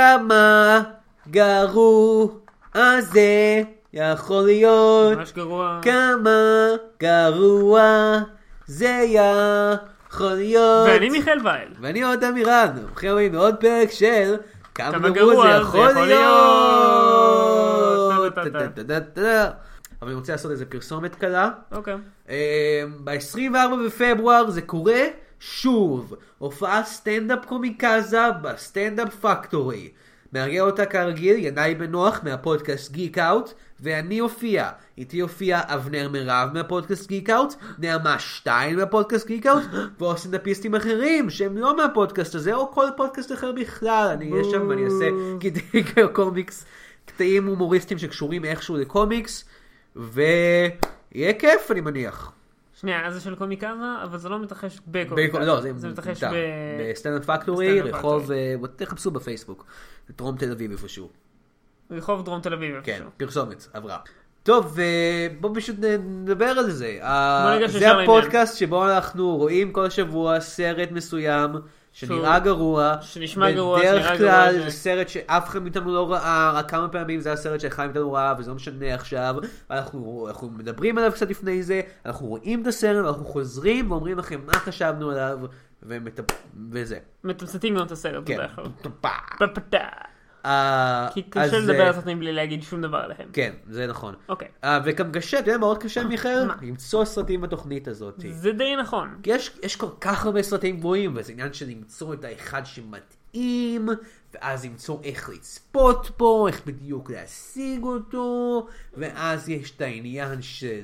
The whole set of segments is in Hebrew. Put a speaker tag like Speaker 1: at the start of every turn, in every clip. Speaker 1: כמה גרוע זה יכול להיות.
Speaker 2: ממש גרוע.
Speaker 1: כן. כמה גרוע זה יכול להיות.
Speaker 2: ואני מיכאל וייל.
Speaker 1: ואני עוד אמירן, ברוכים הבאים לעוד פרק של
Speaker 2: כמה
Speaker 1: כמה
Speaker 2: גרוע
Speaker 1: גרוע זה יכול
Speaker 2: זה יכול
Speaker 1: להיות.
Speaker 2: להיות. טה, טה, טה.
Speaker 1: טה-טה-טה-טה. אבל אני רוצה לעשות איזה פרסומת קלה.
Speaker 2: אוקיי.
Speaker 1: ב-24 אמ, בפברואר זה קורה שוב, הופעה סטנדאפ קומיקזה בסטנדאפ פקטורי. מארגן אותה כרגיל ינאי בנוח מהפודקאסט גיק אאוט, ואני אופיע. איתי יופיע אבנר מירב מהפודקאסט גיק אאוט, נעמה שטיין מהפודקאסט גיק אאוט, ועוד סטנדאפיסטים אחרים שהם לא מהפודקאסט הזה, או כל פודקאסט אחר בכלל. אני אהיה שם ואני אעשה קטעי קומיקס, קטעים הומוריסטיים שקשורים איכשהו לקומיקס, ויהיה כיף אני מניח.
Speaker 2: שנייה, אז זה של קומיקזה, אבל זה לא מתרחש
Speaker 1: בקו-
Speaker 2: בקומיקזה.
Speaker 1: לא, זה
Speaker 2: זה מתרחש
Speaker 1: מותר.
Speaker 2: ב...
Speaker 1: בסטנדאפ פקטורי,
Speaker 2: בסטנדאפ
Speaker 1: רחוב,
Speaker 2: פקטורי.
Speaker 1: אה, בוא- תחפשו בפייסבוק, דרום תל אביב איפשהו.
Speaker 2: רחוב דרום תל אביב.
Speaker 1: כן,
Speaker 2: איפשהו.
Speaker 1: פרסומת, עברה. טוב, אה, בוא פשוט נ- נדבר על זה. אה,
Speaker 2: בוא ניגש
Speaker 1: זה
Speaker 2: ישר
Speaker 1: הפודקאסט שבו אנחנו רואים כל שבוע סרט מסוים שנראה
Speaker 2: שהוא-
Speaker 1: גרוע.
Speaker 2: שנשמע גרוע, שנראה
Speaker 1: בדרך
Speaker 2: גרוע,
Speaker 1: כלל
Speaker 2: ש-
Speaker 1: זה סרט שאף אחד מאיתנו לא ראה, רק כמה פעמים זה הסרט שאחד מאיתנו ראה, וזה לא משנה עכשיו. אנחנו אנחנו מדברים עליו קצת לפני זה, אנחנו רואים את הסרט, אנחנו חוזרים ואומרים לכם מה חשבנו עליו, ומטפ- וזה.
Speaker 2: מתמצתים גם את הסרט
Speaker 1: כן.
Speaker 2: בדרך כלל.
Speaker 1: טופה.
Speaker 2: פפתה.
Speaker 1: אה,
Speaker 2: כי
Speaker 1: אז,
Speaker 2: קשה לדבר
Speaker 1: אה,
Speaker 2: על סרטים בלי להגיד שום דבר עליהם.
Speaker 1: כן, זה נכון.
Speaker 2: אוקיי.
Speaker 1: אה, וגם קשה, אתה יודע מה עוד קשה, מיכאל?
Speaker 2: מה?
Speaker 1: למצוא סרטים בתוכנית הזאת.
Speaker 2: זה די נכון.
Speaker 1: כי יש, יש כל כך הרבה סרטים גבוהים, וזה עניין של למצוא את האחד שמתאים, ואז למצוא איך לצפות בו, איך בדיוק להשיג אותו, ואז יש את העניין של...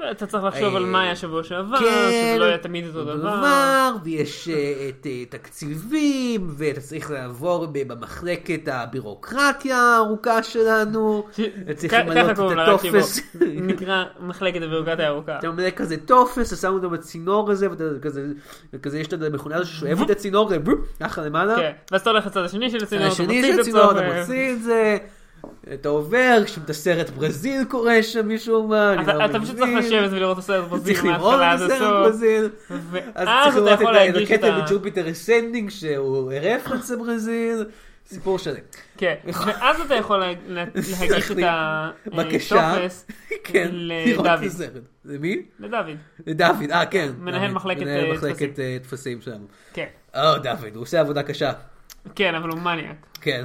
Speaker 1: אה,
Speaker 2: אתה צריך לחשוב על
Speaker 1: אה,
Speaker 2: מה היה שבוע שעבר, שזה
Speaker 1: כן,
Speaker 2: לא היה תמיד אותו דבר.
Speaker 1: דבר, ויש אה, את אה, תקציבים, ואתה צריך לעבור ב- במחלקת הבירוקרטיה הארוכה שלנו,
Speaker 2: ש-
Speaker 1: אתה צריך
Speaker 2: כ-
Speaker 1: למלא
Speaker 2: ככה
Speaker 1: את
Speaker 2: קוראים כאילו, לרק
Speaker 1: הטופס.
Speaker 2: שבו. נקרא מחלקת הביורוקרטיה הארוכה.
Speaker 1: אתה ממלא כזה טופס, אתה שם אותו בצינור הזה, ואתה כזה, וכזה יש את המכונה הזו ששואבת את הצינור, כזה, בופ, ככה למעלה.
Speaker 2: כן. ואז אתה הולך לצד השני של הצינור, אתה
Speaker 1: השני
Speaker 2: מוציא
Speaker 1: של
Speaker 2: את
Speaker 1: הצינור,
Speaker 2: הצינור.
Speaker 1: אתה
Speaker 2: ו-
Speaker 1: מוציא את זה, אתה עובר, שם את הסרט ברזיל קורה שם משום מה, אני
Speaker 2: אתה-
Speaker 1: לא
Speaker 2: אתה פשוט צריך
Speaker 1: מבין.
Speaker 2: לשבת ולראות את הסרט ברזיל
Speaker 1: צריך לראות
Speaker 2: מההתחלה
Speaker 1: את
Speaker 2: עד
Speaker 1: הסרט
Speaker 2: הסוף.
Speaker 1: ברזיל. אז
Speaker 2: ואז
Speaker 1: צריך
Speaker 2: אתה
Speaker 1: לראות
Speaker 2: יכול
Speaker 1: את
Speaker 2: להגיש את
Speaker 1: הקטע
Speaker 2: ה...
Speaker 1: בג'ופיטר אסנדינג שהוא רפרנס לברזיל, סיפור שלם.
Speaker 2: כן,
Speaker 1: נכון.
Speaker 2: ואז אתה יכול לה- לה- להגיש את
Speaker 1: לי. בבקשה.
Speaker 2: הטופס
Speaker 1: כן, לראות את
Speaker 2: לדוד.
Speaker 1: הסרט. למי?
Speaker 2: לדוד.
Speaker 1: לדוד, אה כן.
Speaker 2: מנהל
Speaker 1: דוד,
Speaker 2: מחלקת,
Speaker 1: מנהל
Speaker 2: אה,
Speaker 1: מחלקת
Speaker 2: טפסים.
Speaker 1: אה, טפסים שלנו.
Speaker 2: כן,
Speaker 1: או דוד, הוא עושה עבודה קשה.
Speaker 2: כן, אבל הוא מניאק.
Speaker 1: כן.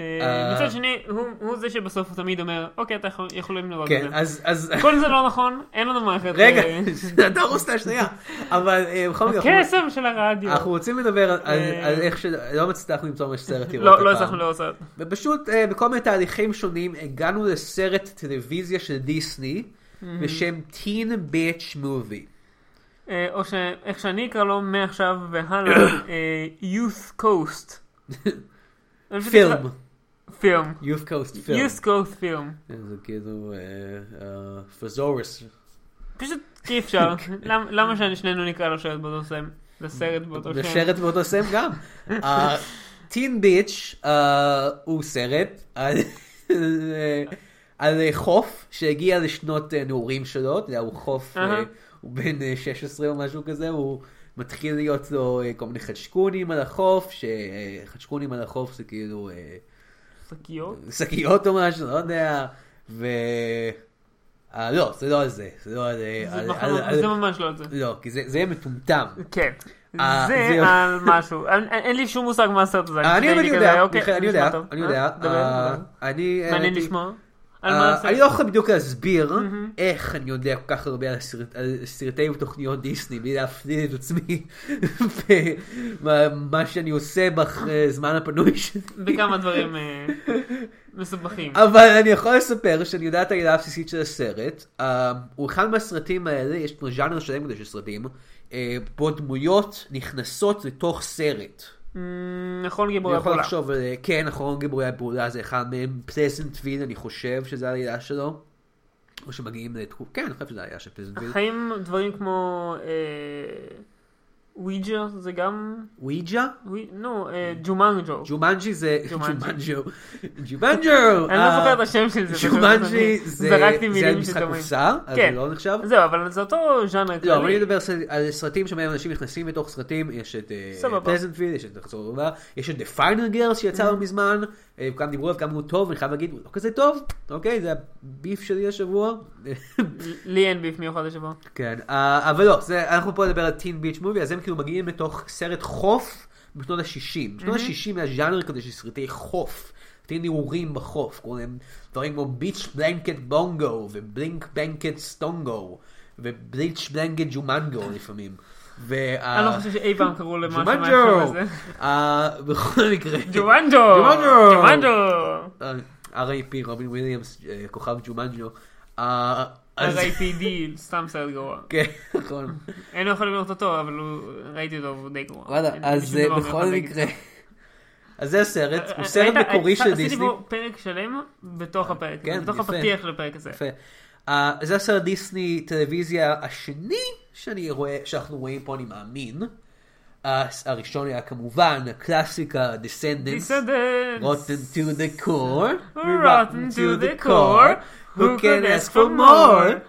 Speaker 2: אה,
Speaker 1: אה.
Speaker 2: מצד שני, הוא- הוא זה שבסוף הוא תמיד אומר, אוקיי, אתה יכול- יכולים לראות את
Speaker 1: כן,
Speaker 2: זה.
Speaker 1: אז... אז-
Speaker 2: כל זה לא נכון, אין לנו מערכת...
Speaker 1: רגע,
Speaker 2: אה,
Speaker 1: תהרוס את השנייה. אבל אה, בכל מקרה, אנחנו-
Speaker 2: הקסם של הרדיו.
Speaker 1: אנחנו רוצים לדבר על- על
Speaker 2: כאילו. אה.
Speaker 1: על איך שלא לא הצלחנו למצוא ממש סרט לראות
Speaker 2: לא, לא
Speaker 1: הפעם.
Speaker 2: הצלחנו לראות סרט.
Speaker 1: ופשוט אה, בכל מיני תהליכים שונים הגענו לסרט טלוויזיה של דיסני בשם Teen Bitch Movie.
Speaker 2: אה, או שאיך שאני אקרא לו מעכשיו והלאה, אה, Youth Coast. אני פשוט
Speaker 1: פילם.
Speaker 2: אקרא- פילם.
Speaker 1: Youth Coast פילם.
Speaker 2: Youth Coast פילם.
Speaker 1: זה כאילו אה, אה, פזורס.
Speaker 2: פשוט אי אפשר.
Speaker 1: כן.
Speaker 2: למ- למה ששנינו נקרא לו שרת באותו שם? זה סרט באותו שם.
Speaker 1: ושרת באותו שם גם. טין ביץ' אה, הוא סרט על- אה, על אה, חוף שהגיע לשנות אה, נעורים שלו, אתה יודע, הוא חוף, אה,
Speaker 2: אהה.
Speaker 1: הוא בן אה, 16 או משהו כזה, הוא מתחיל להיות לו אה, כל מיני חדשקונים על החוף, שחדשקונים על החוף זה כאילו אה,
Speaker 2: שקיות?
Speaker 1: שקיות או משהו, לא יודע, ו... אה, לא, זה לא על זה, זה לא על... אה,
Speaker 2: זה
Speaker 1: על-
Speaker 2: בחלום,
Speaker 1: על- על-
Speaker 2: זה ממש לא את זה.
Speaker 1: לא, כי זה זה יהיה מטומטם.
Speaker 2: כן.
Speaker 1: אה,
Speaker 2: זה
Speaker 1: זה- אה,
Speaker 2: על משהו. אין- אין אין לי שום מושג מה הסרט הזה.
Speaker 1: אני
Speaker 2: פשוט
Speaker 1: אבל
Speaker 2: הייתי
Speaker 1: יודע,
Speaker 2: כזה, אוקיי,
Speaker 1: מיכאל, אני
Speaker 2: נשמע
Speaker 1: יודע,
Speaker 2: טוב.
Speaker 1: אני
Speaker 2: אה,
Speaker 1: יודע,
Speaker 2: דבר,
Speaker 1: אה,
Speaker 2: דבר.
Speaker 1: אני
Speaker 2: מעניין
Speaker 1: העליתי-
Speaker 2: לשמוע. על מה
Speaker 1: אה,
Speaker 2: הסרט?
Speaker 1: אני לא יכול בדיוק להסביר איך אני יודע כל כך הרבה על הסרט- על סרטי ותוכניות דיסני בלי להפליל את עצמי במה שאני עושה בזמן הפנוי שלי.
Speaker 2: בכמה דברים אה, מסובכים.
Speaker 1: אבל אני יכול לספר שאני יודע את העילה הבסיסית של הסרט. אה, הוא אחד מהסרטים האלה, יש פה ז'אנר שלם כזה של סרטים, אה, בו דמויות נכנסות לתוך סרט.
Speaker 2: אמ, נכון גיבורי
Speaker 1: אני יכול
Speaker 2: הפעולה.
Speaker 1: לחשוב על... כן, אחרון גיבורי הפעולה זה אחד מהם, פלזנטוויל, אני חושב שזה העלילה שלו. או שמגיעים לתקופ... כן, אני חושב שזה העלילה של פלזנטוויל.
Speaker 2: החיים דברים כמו אה, וויג'ה זה גם...
Speaker 1: וויג'ה?
Speaker 2: ווי- נו, אה, ג'ומנג'ו.
Speaker 1: ג'ומנג'י זה...
Speaker 2: ג'ומנג'ו.
Speaker 1: ג'ומנג'ו. ג'ומנג'ו!
Speaker 2: אני לא זוכר את השם של זה. פשוט
Speaker 1: אה, ג'ומנג'י
Speaker 2: אני
Speaker 1: זה...
Speaker 2: זרקתי
Speaker 1: זה
Speaker 2: מילים
Speaker 1: היה משחק
Speaker 2: שדומים.
Speaker 1: מוסר, אז זה
Speaker 2: כן.
Speaker 1: לא נחשב.
Speaker 2: זהו, אבל זה אותו ז'אנר
Speaker 1: לא, אבל אני
Speaker 2: כללי.
Speaker 1: מדבר ס- על סרטים שבהם אנשים נכנסים לתוך סרטים, יש את
Speaker 2: סבבה. Mm-hmm.
Speaker 1: פלזנטוויל, יש את נחזור לבא, יש את The Final Girls שיצא לא מזמן, אה, כולם דיברו עליו, כמה הוא טוב, אני חייב להגיד, הוא לא כזה טוב, אוקיי, זה הביף שלי השבוע.
Speaker 2: לי אין ביף מיוחד השבוע.
Speaker 1: כן, אה, אבל לא, זה- אנחנו פה נדבר על טין ביץ' מובי, אז הם כאילו מגיעים לתוך סרט חוף בשנות ה-60. בשנות ה-60 היה ז'אנר כזה של סרטי חוף. סרטים נעורים בחוף, קוראים להם דברים כמו ביץ' בלנקט בונגו, ובלינק בנקט סטונגו, ובליץ' בלנקט ג'ומנגו לפעמים. אה, וה-
Speaker 2: אני לא חושב שאי פעם קראו למשהו מהשם
Speaker 1: ג'ומנג'ו!
Speaker 2: הזה.
Speaker 1: אה, בכל מקרה. אה,
Speaker 2: ג'ומנג'ו!
Speaker 1: ג'ומנג'ו!
Speaker 2: ג'ומנג'ו!
Speaker 1: R.A.P. רובין וויליאמס, אה, כוכב ג'ומנג'ו. אה, אז-
Speaker 2: R.I.P.D. סתם סרט גרוע.
Speaker 1: כן, נכון.
Speaker 2: אני לא יכול לראות אותו, אבל הוא- ראיתי אותו, הוא די גרוע.
Speaker 1: וואלה,
Speaker 2: אין לי
Speaker 1: אז
Speaker 2: שום
Speaker 1: אה,
Speaker 2: דבר מיוחד
Speaker 1: בכל
Speaker 2: להגיד. אה,
Speaker 1: מקרה. אז זה הסרט, הוא
Speaker 2: ראית-
Speaker 1: סרט
Speaker 2: ראית-
Speaker 1: מקורי של
Speaker 2: עשיתי
Speaker 1: דיסני.
Speaker 2: פה פרק שלם בתוך הפרק,
Speaker 1: כן,
Speaker 2: בתוך
Speaker 1: יפה.
Speaker 2: הפתיח לפרק הזה.
Speaker 1: יפה. אה, זה הסרט דיסני טלוויזיה השני שאני רואה, שאנחנו רואים פה, אני מאמין. אה, הראשון היה כמובן הקלאסיקה, Descendants,
Speaker 2: Descendants.
Speaker 1: Rotten to the core,
Speaker 2: We're rotten to the core.
Speaker 1: who can ask for more. אה,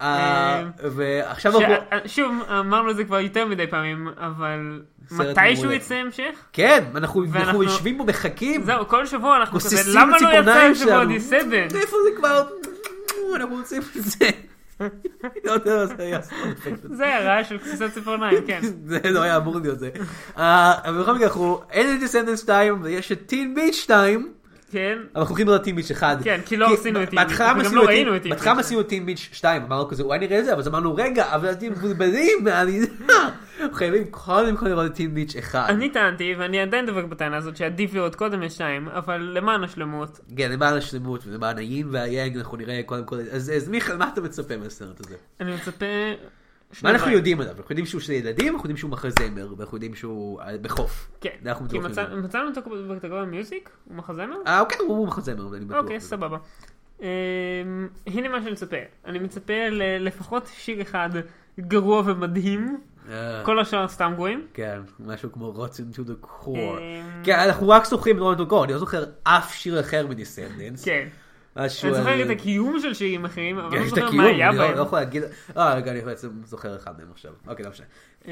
Speaker 2: אה,
Speaker 1: ועכשיו
Speaker 2: ש- אה,
Speaker 1: אנחנו...
Speaker 2: שוב, אמרנו את זה כבר יותר מדי פעמים, אבל
Speaker 1: סרט
Speaker 2: מתישהו
Speaker 1: מעולה.
Speaker 2: יצא המשך?
Speaker 1: כן, אנחנו
Speaker 2: ואנחנו-
Speaker 1: אנחנו יושבים פה מחכים.
Speaker 2: זהו, כל שבוע אנחנו כזה,
Speaker 1: גוססים
Speaker 2: למה לא יצא
Speaker 1: ציפורניים
Speaker 2: השבוע
Speaker 1: שלנו.
Speaker 2: דיסדנט?
Speaker 1: איפה זה כבר? "אה, אנחנו רוצים את זה. לא יודע מה זה היה. סאונד אפקט.
Speaker 2: זה הרעש של גסיסת ציפורניים, כן.
Speaker 1: זה לא היה אמור להיות זה. אה, אבל בכל מקרה אנחנו, אין את דיסנדנט 2 ויש את טין ביץ' 2.
Speaker 2: כן,
Speaker 1: אבל אנחנו הולכים לדעת טין ביץ' 1.
Speaker 2: כן, כי לא עשינו את טין ביץ',
Speaker 1: בהתחלה
Speaker 2: וגם
Speaker 1: עשינו
Speaker 2: לא
Speaker 1: את טין-
Speaker 2: ראינו את טין
Speaker 1: בהתחלה
Speaker 2: ביץ'.
Speaker 1: עשינו את טין ביץ' 2, אמרנו כזה, אולי נראה את זה, אבל אז אמרנו, רגע, אבל אתם מבולבלים מהעלילה. אנחנו חייבים קודם כל לראות את טין ביץ' 1.
Speaker 2: אני טענתי, ואני עדיין דבק בטענה הזאת, שעדיף לראות קודם יש שתיים, אבל למען השלמות,
Speaker 1: כן, למען השלמות ולמען היין והיאנג, אנחנו נראה קודם כל... אז אז מיכאל, מה אתה מצפה מהסרט הזה?
Speaker 2: אני מצפה... שני
Speaker 1: מה אנחנו
Speaker 2: דברים.
Speaker 1: יודעים עליו? אנחנו יודעים שהוא של ילדים, אנחנו יודעים שהוא מחזמר, ואנחנו יודעים שהוא אה, בחוף. זה
Speaker 2: כן,
Speaker 1: אנחנו
Speaker 2: כי
Speaker 1: בטוחים.
Speaker 2: מצא- מצאנו אותו בקטגוריה מיוזיק? הוא מחזמר?
Speaker 1: אה, אוקיי, הוא מחזמר, אני בטוח.
Speaker 2: אוקיי, סבבה. אמ, הנה מה שאני מצפה. אני מצפה ללפחות שיר אחד גרוע ומדהים,
Speaker 1: אה,
Speaker 2: כל השאר סתם גרועים.
Speaker 1: כן, משהו כמו רוצים to the core.
Speaker 2: אמ,
Speaker 1: כן, אנחנו רק זוכרים את רונד אני לא זוכר אף שיר אחר מדיסנדנס.
Speaker 2: כן.
Speaker 1: משהו
Speaker 2: אני זוכר
Speaker 1: על-
Speaker 2: את הקיום של שירים אחרים, אבל
Speaker 1: כן,
Speaker 2: לא
Speaker 1: את
Speaker 2: זוכר
Speaker 1: הקיום,
Speaker 2: מה היה
Speaker 1: אני לא-
Speaker 2: בהם.
Speaker 1: לא יכול להגיד... אה, רגע, אני בעצם זוכר אחד מהם עכשיו. אוקיי, לא משנה.
Speaker 2: אמ,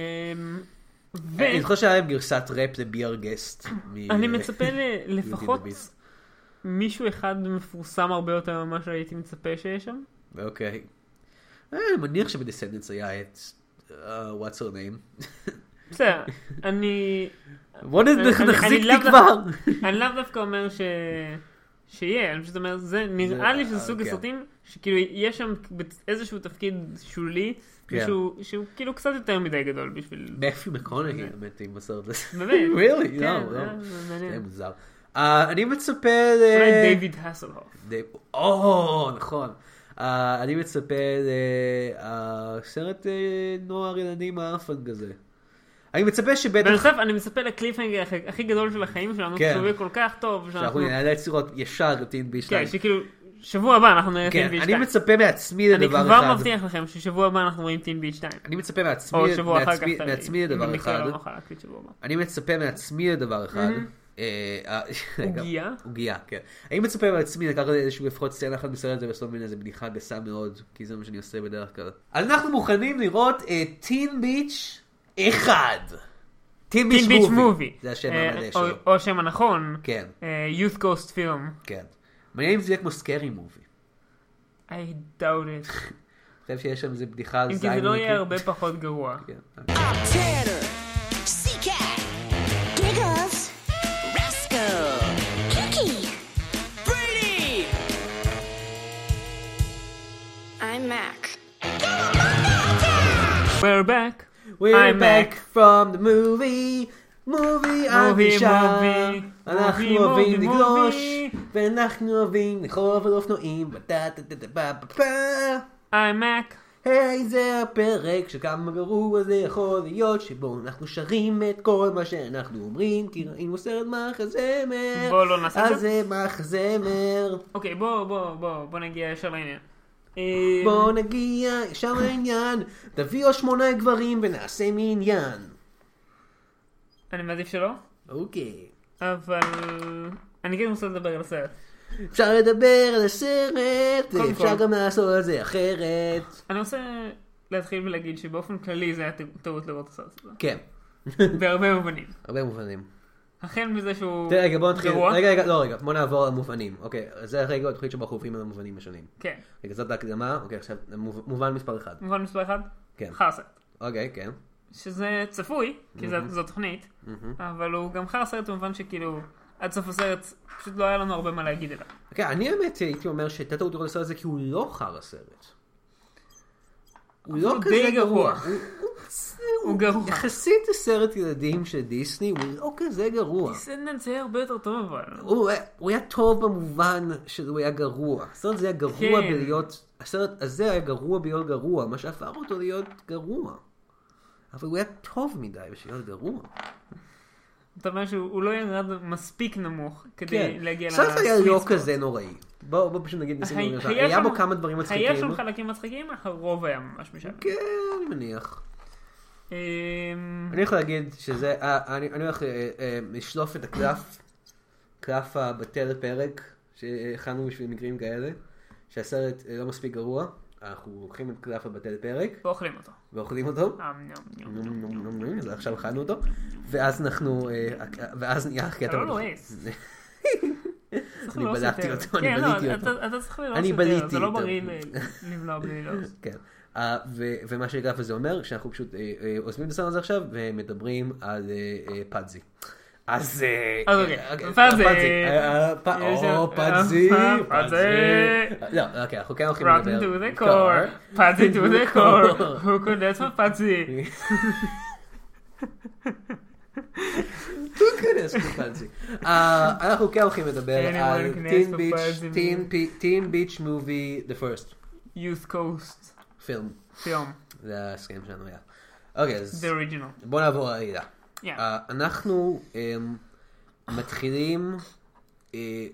Speaker 2: ו-
Speaker 1: אני זוכר שהיה להם גרסת ראפ לביאר גסט. מ-
Speaker 2: אני מצפה ל- לפחות
Speaker 1: You did the beast.
Speaker 2: מישהו אחד מפורסם הרבה יותר ממה שהייתי מצפה שיש שם.
Speaker 1: אוקיי. אה, אני מניח שבדיסנדנס היה את... אה, What's her name?
Speaker 2: בסדר, אני
Speaker 1: בוא נ-
Speaker 2: אני- אני-
Speaker 1: נחזיק
Speaker 2: אני לאו
Speaker 1: תקווה.
Speaker 2: אני לאו דווקא אומר ש... שיהיה, אני פשוט אומר, זה נראה
Speaker 1: זה-
Speaker 2: לי שזה
Speaker 1: אה,
Speaker 2: סוג
Speaker 1: כן.
Speaker 2: הסרטים שכאילו יש שם איזשהו תפקיד שולי,
Speaker 1: כן.
Speaker 2: שהוא שהוא כאילו קצת יותר מדי גדול בשביל...
Speaker 1: מאפי מקונגי, האמת, עם הסרט הזה.
Speaker 2: באמת.
Speaker 1: really?
Speaker 2: כן,
Speaker 1: לא, לא.
Speaker 2: זה- זה
Speaker 1: זה
Speaker 2: מעניין.
Speaker 1: מוזר. אה, אני מצפה ל...
Speaker 2: אולי דיוויד האסלהוף.
Speaker 1: די- או, נכון. אה, אני מצפה לסרט אה, נוער ילדים האפן כזה. אני מצפה שבטח...
Speaker 2: בנוסף, אני מצפה לקליפהנגר הכי- הכי גדול של החיים שלנו,
Speaker 1: כן.
Speaker 2: שהוא יהיה כל כך טוב,
Speaker 1: שאנחנו
Speaker 2: שאנחנו...
Speaker 1: נאלץ לראות ישר את טין בי
Speaker 2: כן,
Speaker 1: שתיים.
Speaker 2: שכאילו, שבוע הבא אנחנו נראה
Speaker 1: כן,
Speaker 2: טין בי
Speaker 1: אני
Speaker 2: 2.
Speaker 1: מצפה מעצמי
Speaker 2: אני
Speaker 1: לדבר
Speaker 2: כבר
Speaker 1: אחד.
Speaker 2: מבטיח לכם ששבוע הבא אנחנו רואים טין בי 2.
Speaker 1: אני מצפה מעצמי
Speaker 2: או שבוע אחר כך.
Speaker 1: מעצמי-
Speaker 2: תלוי,
Speaker 1: מעצמי
Speaker 2: אם
Speaker 1: לדבר
Speaker 2: במקרה
Speaker 1: אחד.
Speaker 2: לא נוכל להקליט שבוע הבא.
Speaker 1: אני מצפה מעצמי לדבר אחד. אה, אה, רגע,
Speaker 2: עוגיה?
Speaker 1: עוגיה, כן. אני מצפה מעצמי לקחת איזשהו לפחות סצנה אחת בסרט הזה ולעשות ממנה איזה בדיחה גסה מאוד, כי זה מה שאני עושה בדרך כלל. אז אנחנו מוכנים לראות את טין ביץ' אחד. טין
Speaker 2: טין ביץ' מובי.
Speaker 1: זה השם
Speaker 2: אה,
Speaker 1: המלא
Speaker 2: או-
Speaker 1: שלו.
Speaker 2: או השם הנכון.
Speaker 1: כן,
Speaker 2: אה, youth Ghost Film.
Speaker 1: כן. מעניין אם זה יהיה כמו סקרי מובי.
Speaker 2: I doubt it.
Speaker 1: אני חושב שיש שם איזה בדיחה על
Speaker 2: אם כי
Speaker 1: זין.
Speaker 2: זה לא יהיה
Speaker 1: ויקי.
Speaker 2: הרבה פחות גרוע.
Speaker 1: כן.
Speaker 3: I'm Tanner. C-Cat. Giggles. Rascal. Kiki. Brady.
Speaker 4: I'm Mac.
Speaker 2: We're back.
Speaker 1: We're
Speaker 2: I'm
Speaker 1: back
Speaker 2: Mac.
Speaker 1: from the movie, movie
Speaker 2: Movie,
Speaker 1: אבישה.
Speaker 2: movie,
Speaker 1: אנחנו
Speaker 2: movie,
Speaker 1: אוהבים
Speaker 2: movie,
Speaker 1: לגלוש,
Speaker 2: movie.
Speaker 1: ואנחנו אוהבים לכאוב על אופנועים, וטה טה טה טה פה פה פה.
Speaker 2: I'm Mac.
Speaker 1: היי זה הפרק שכמה גרוע זה יכול להיות, שבו אנחנו שרים את כל מה שאנחנו אומרים, כי ראינו סרט מחזמר.
Speaker 2: בוא לא נעשה את
Speaker 1: אז זה מחזמר.
Speaker 2: אוקיי, בוא, בוא, בוא, בוא נגיע ישר לעניין. אה,
Speaker 1: בוא נגיע ישר לעניין, תביא עוד שמונה גברים ונעשה מניין.
Speaker 2: אני מעדיף שלא,
Speaker 1: אוקיי.
Speaker 2: אבל אני כן רוצה לדבר על הסרט.
Speaker 1: אפשר לדבר על הסרט,
Speaker 2: קודם
Speaker 1: אפשר
Speaker 2: כל.
Speaker 1: גם לעשות את זה אחרת.
Speaker 2: אני רוצה להתחיל ולהגיד שבאופן כללי זה היה ט- טעות לראות את הסרט הזה.
Speaker 1: כן,
Speaker 2: בהרבה מובנים.
Speaker 1: הרבה מובנים.
Speaker 2: החל מזה שהוא
Speaker 1: תראה, רגע, בוא נתחיל.
Speaker 2: גרוע.
Speaker 1: רגע, רגע, לא, רגע, בוא נעבור על מובנים. אוקיי, אז זה הרגע התוכנית שבו אנחנו עוברים על המובנים השונים.
Speaker 2: כן.
Speaker 1: רגע, זאת ההקדמה, אוקיי, עכשיו, מוב- מובן מספר אחד.
Speaker 2: מובן מספר אחד?
Speaker 1: כן.
Speaker 2: חרסה.
Speaker 1: אוקיי, כן.
Speaker 2: שזה צפוי, כי זה- זו תוכנית, אבל הוא גם חרא סרט במובן שכאילו, עד סוף הסרט פשוט לא היה לנו הרבה מה להגיד עליו.
Speaker 1: אוקיי, אני האמת הייתי אומר שהייתה טעות לראות את הסרט הזה כי הוא לא חר הסרט. הוא לא
Speaker 2: הוא
Speaker 1: כזה
Speaker 2: די גרוע.
Speaker 1: גרוע. הוא-
Speaker 2: הוא גרוע.
Speaker 1: יחסית לסרט ילדים של דיסני, הוא לא כזה גרוע.
Speaker 2: סנדנס היה הרבה יותר טוב אבל.
Speaker 1: הוא היה- הוא היה טוב במובן שהוא היה גרוע. הסרט הזה היה גרוע
Speaker 2: כן.
Speaker 1: בלהיות... הסרט הזה היה גרוע בלהיות גרוע, מה שהפך אותו להיות גרוע. אבל הוא היה טוב מדי בשביל להיות גרוע.
Speaker 2: אתה אומר שהוא הוא לא ירד מספיק נמוך
Speaker 1: כן.
Speaker 2: כדי להגיע
Speaker 1: סרט היה
Speaker 2: לסוויט
Speaker 1: לא
Speaker 2: ספוט.
Speaker 1: כזה נוראי. בואו בוא פשוט נגיד ניסינו
Speaker 2: היה-
Speaker 1: לראשון. היה בו
Speaker 2: שם-
Speaker 1: כמה דברים מצחיקים.
Speaker 2: היה שם חלקים מצחיקים, הרוב היה ממש משם.
Speaker 1: כן, אני מניח.
Speaker 2: אמ,
Speaker 1: אני הולך להגיד שזה, אה, אני אני הולך אה, אה, לשלוף את הקלף, קלף הבטל פרק שהכנו בשביל מקרים כאלה, שהסרט אה, לא מספיק גרוע, אנחנו לוקחים את קלף הבטל פרק
Speaker 2: ואוכלים אותו.
Speaker 1: ואוכלים אותו,
Speaker 2: אמ, ניום, ניום,
Speaker 1: נום,
Speaker 2: ניום.
Speaker 1: נום, נום, נום, נום, אז עכשיו אכלנו אותו, ואז אנחנו, אה, הק- ואז נהיה הקטע,
Speaker 2: אתה לא
Speaker 1: מגוחך.
Speaker 2: לועס. צריך
Speaker 1: אני
Speaker 2: ללעוס
Speaker 1: בלעתי
Speaker 2: יותר.
Speaker 1: אותו, אני
Speaker 2: כן, לא,
Speaker 1: בליתי
Speaker 2: אתה-
Speaker 1: אותו.
Speaker 2: אתה צריך ללעוס
Speaker 1: אני
Speaker 2: יותר,
Speaker 1: בליתי
Speaker 2: זה לא
Speaker 1: אותו.
Speaker 2: בריא ל- לבלוע בלי ללעוס.
Speaker 1: כן. אה, ו- ומה שהגרף הזה אומר, שאנחנו פשוט אה, אה, עוזבים את הסרט הזה עכשיו ומדברים על אה, אה, פאדזי. אז... אה,
Speaker 2: אז אוקיי,
Speaker 1: אה, אוקיי,
Speaker 2: פאדזי.
Speaker 1: אה, אה, פ-
Speaker 2: יש
Speaker 1: או,
Speaker 2: שם-
Speaker 1: פאדזי.
Speaker 2: אה,
Speaker 1: פאדזי.
Speaker 2: פאדזי.
Speaker 1: לא, אוקיי, אנחנו כן הולכים לדבר.
Speaker 2: Rotten to the core, פאצי to the core, who could that's my פאצי.
Speaker 1: תיכנס בפאדזי. אה, אנחנו כן הולכים לדבר
Speaker 2: Anyone
Speaker 1: על
Speaker 2: can
Speaker 1: טין
Speaker 2: ask for
Speaker 1: ביץ',
Speaker 2: Pudgy.
Speaker 1: טין ביץ' מובי, the first
Speaker 2: Youth Coast,
Speaker 1: film.
Speaker 2: פיום,
Speaker 1: זה ההסכם שלנו היה. אוקיי, אז
Speaker 2: the original.
Speaker 1: בואו נעבור לעלילה.
Speaker 2: Yeah.
Speaker 1: אה, אנחנו אמ, מתחילים אה,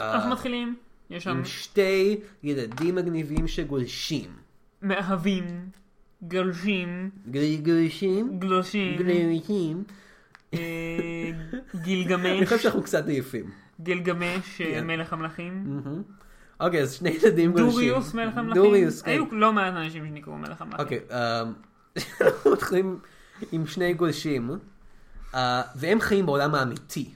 Speaker 1: אה,
Speaker 2: אנחנו מתחילים, יש שם
Speaker 1: עם שתי ילדים מגניבים שגולשים.
Speaker 2: מאהבים, גלשים,
Speaker 1: גל- גולשים?
Speaker 2: גלושים,
Speaker 1: גולשים.
Speaker 2: אה,
Speaker 1: אני חושב כן.
Speaker 2: גילגמש,
Speaker 1: שאנחנו קצת עייפים.
Speaker 2: גילגמש, אה, מלך המלכים,
Speaker 1: אוקיי, אז שני ילדים גולשים.
Speaker 2: דוריוס מלך המלכים,
Speaker 1: דוריוס, כן.
Speaker 2: היו לא מעט אנשים שנקראו מלך המלכים.
Speaker 1: אוקיי, אמ, אנחנו מתחילים עם שני גולשים, אה, והם חיים בעולם האמיתי.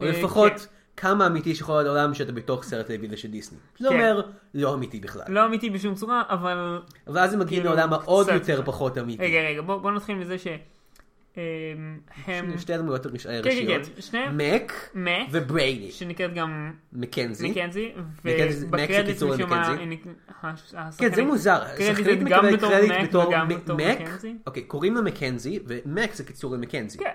Speaker 1: או
Speaker 2: אה,
Speaker 1: לפחות
Speaker 2: כן.
Speaker 1: כמה אמיתי שיכול להיות עולם שאתה בתוך סרט טלוויזיה של דיסני. זה
Speaker 2: כן.
Speaker 1: אומר לא אמיתי בכלל.
Speaker 2: לא אמיתי בשום צורה, אבל
Speaker 1: ואז הם מגיעים
Speaker 2: כאילו,
Speaker 1: לעולם העוד
Speaker 2: קצת.
Speaker 1: יותר פחות אמיתי.
Speaker 2: רגע, רגע, בוא בוא נתחיל מזה שהם... הם...
Speaker 1: שני הדמויות הראש-
Speaker 2: כן,
Speaker 1: הראשיות.
Speaker 2: כן, שניהם...
Speaker 1: מק
Speaker 2: מק.
Speaker 1: וברייני.
Speaker 2: שנקראת גם
Speaker 1: מקנזי.
Speaker 2: מקנזי,
Speaker 1: מקנזי- מק זה
Speaker 2: ובקרדיט
Speaker 1: קיצור
Speaker 2: משום מה...
Speaker 1: למקנזי.
Speaker 2: היא אה, נק- הש-
Speaker 1: כן, זה
Speaker 2: השחקנית-
Speaker 1: מוזר.
Speaker 2: קרדיט
Speaker 1: השחקנית
Speaker 2: אוקיי. גם
Speaker 1: מקבלת
Speaker 2: בתור
Speaker 1: קרדיט
Speaker 2: מק
Speaker 1: בתור
Speaker 2: וגם
Speaker 1: מ-
Speaker 2: בתור
Speaker 1: מק.
Speaker 2: מקנזי.
Speaker 1: אוקיי, קוראים לה מקנזי, ומק זה קיצור למקנזי.
Speaker 2: כן.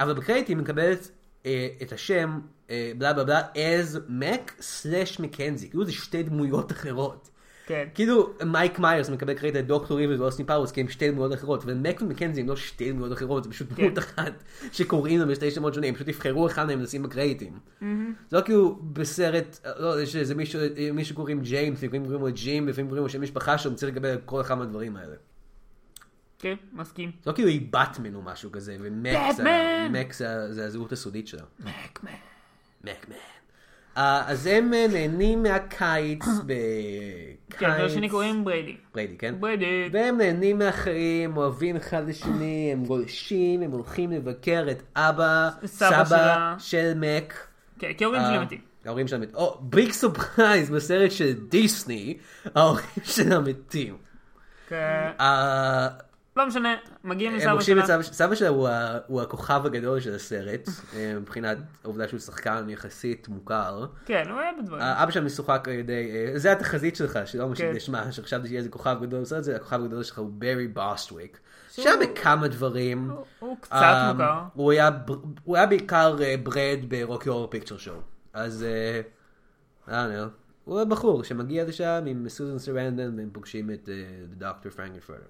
Speaker 1: אבל בקרדיט היא מקבלת אה, את השם אה, בלה בלה בלה as מק סלאש מקנזי. כאילו זה שתי דמויות אחרות.
Speaker 2: כן.
Speaker 1: כאילו מייק מיירס מקבל קרדיט את דוקטור איביל ואוסטין פאוורס כי הם שתי דמויות אחרות ומק ומקנזי הם לא שתי דמויות אחרות זה פשוט דמות אחת שקוראים להם בשתי שמות שונים פשוט יבחרו אחד מהם לשים בקרדיטים. זה לא כאילו בסרט לא יש איזה מישהו מישהו קוראים ג'יימס לפעמים קוראים לו ג'ים לפעמים קוראים לו שם משפחה שהוא צריך לקבל את כל אחד מהדברים האלה.
Speaker 2: כן, מסכים.
Speaker 1: זה לא כאילו היא באטמן או משהו כזה ומק זה-
Speaker 2: באטמן!
Speaker 1: מק זה זה הזהות הסודית שלה.
Speaker 2: מקמן.
Speaker 1: מקמן. אה, אז הם אה, נהנים מהקיץ בקיץ.
Speaker 2: כן, אבל שני קוראים בריידי.
Speaker 1: בריידי כן?
Speaker 2: בריידי.
Speaker 1: והם נהנים מהחיים, אוהבים אחד לשני, הם גולשים, הם הולכים לבקר את אבא,
Speaker 2: סבא
Speaker 1: סבא,
Speaker 2: שלה.
Speaker 1: של מק.
Speaker 2: כן, כי
Speaker 1: אה,
Speaker 2: ההורים שלי מתים.
Speaker 1: ההורים שלה מתים. או, ביג סופרייז בסרט של דיסני, ההורים שלה מתים.
Speaker 2: כן.
Speaker 1: אה,
Speaker 2: לא משנה, מגיעים
Speaker 1: הם
Speaker 2: לסבא
Speaker 1: פוגשים את
Speaker 2: שלה.
Speaker 1: סבא, סבא שלה הוא, ה, הוא הכוכב הגדול של הסרט, אה, מבחינת העובדה שהוא שחקן יחסית מוכר.
Speaker 2: כן, הוא היה בדברים.
Speaker 1: אה, אבא שלה משוחק על ידי, אה, זה התחזית שלך, שלא משנה,
Speaker 2: כן.
Speaker 1: שמע, שחשבתי שיהיה איזה כוכב גדול בסרט הזה, הכוכב הגדול שלך הוא ברי בוסטוויק.
Speaker 2: שהוא-
Speaker 1: שהיה בכמה דברים.
Speaker 2: הוא- הוא
Speaker 1: אה,
Speaker 2: קצת מוכר.
Speaker 1: הוא היה בר- הוא היה בעיקר אה, ברד ברוקי אור פיקצ'ר שואו. אז, אה, I don't know. הוא בחור שמגיע לשם עם סוזן סרנדן והם פוגשים את אה, דוקטור פרנקנפורטר.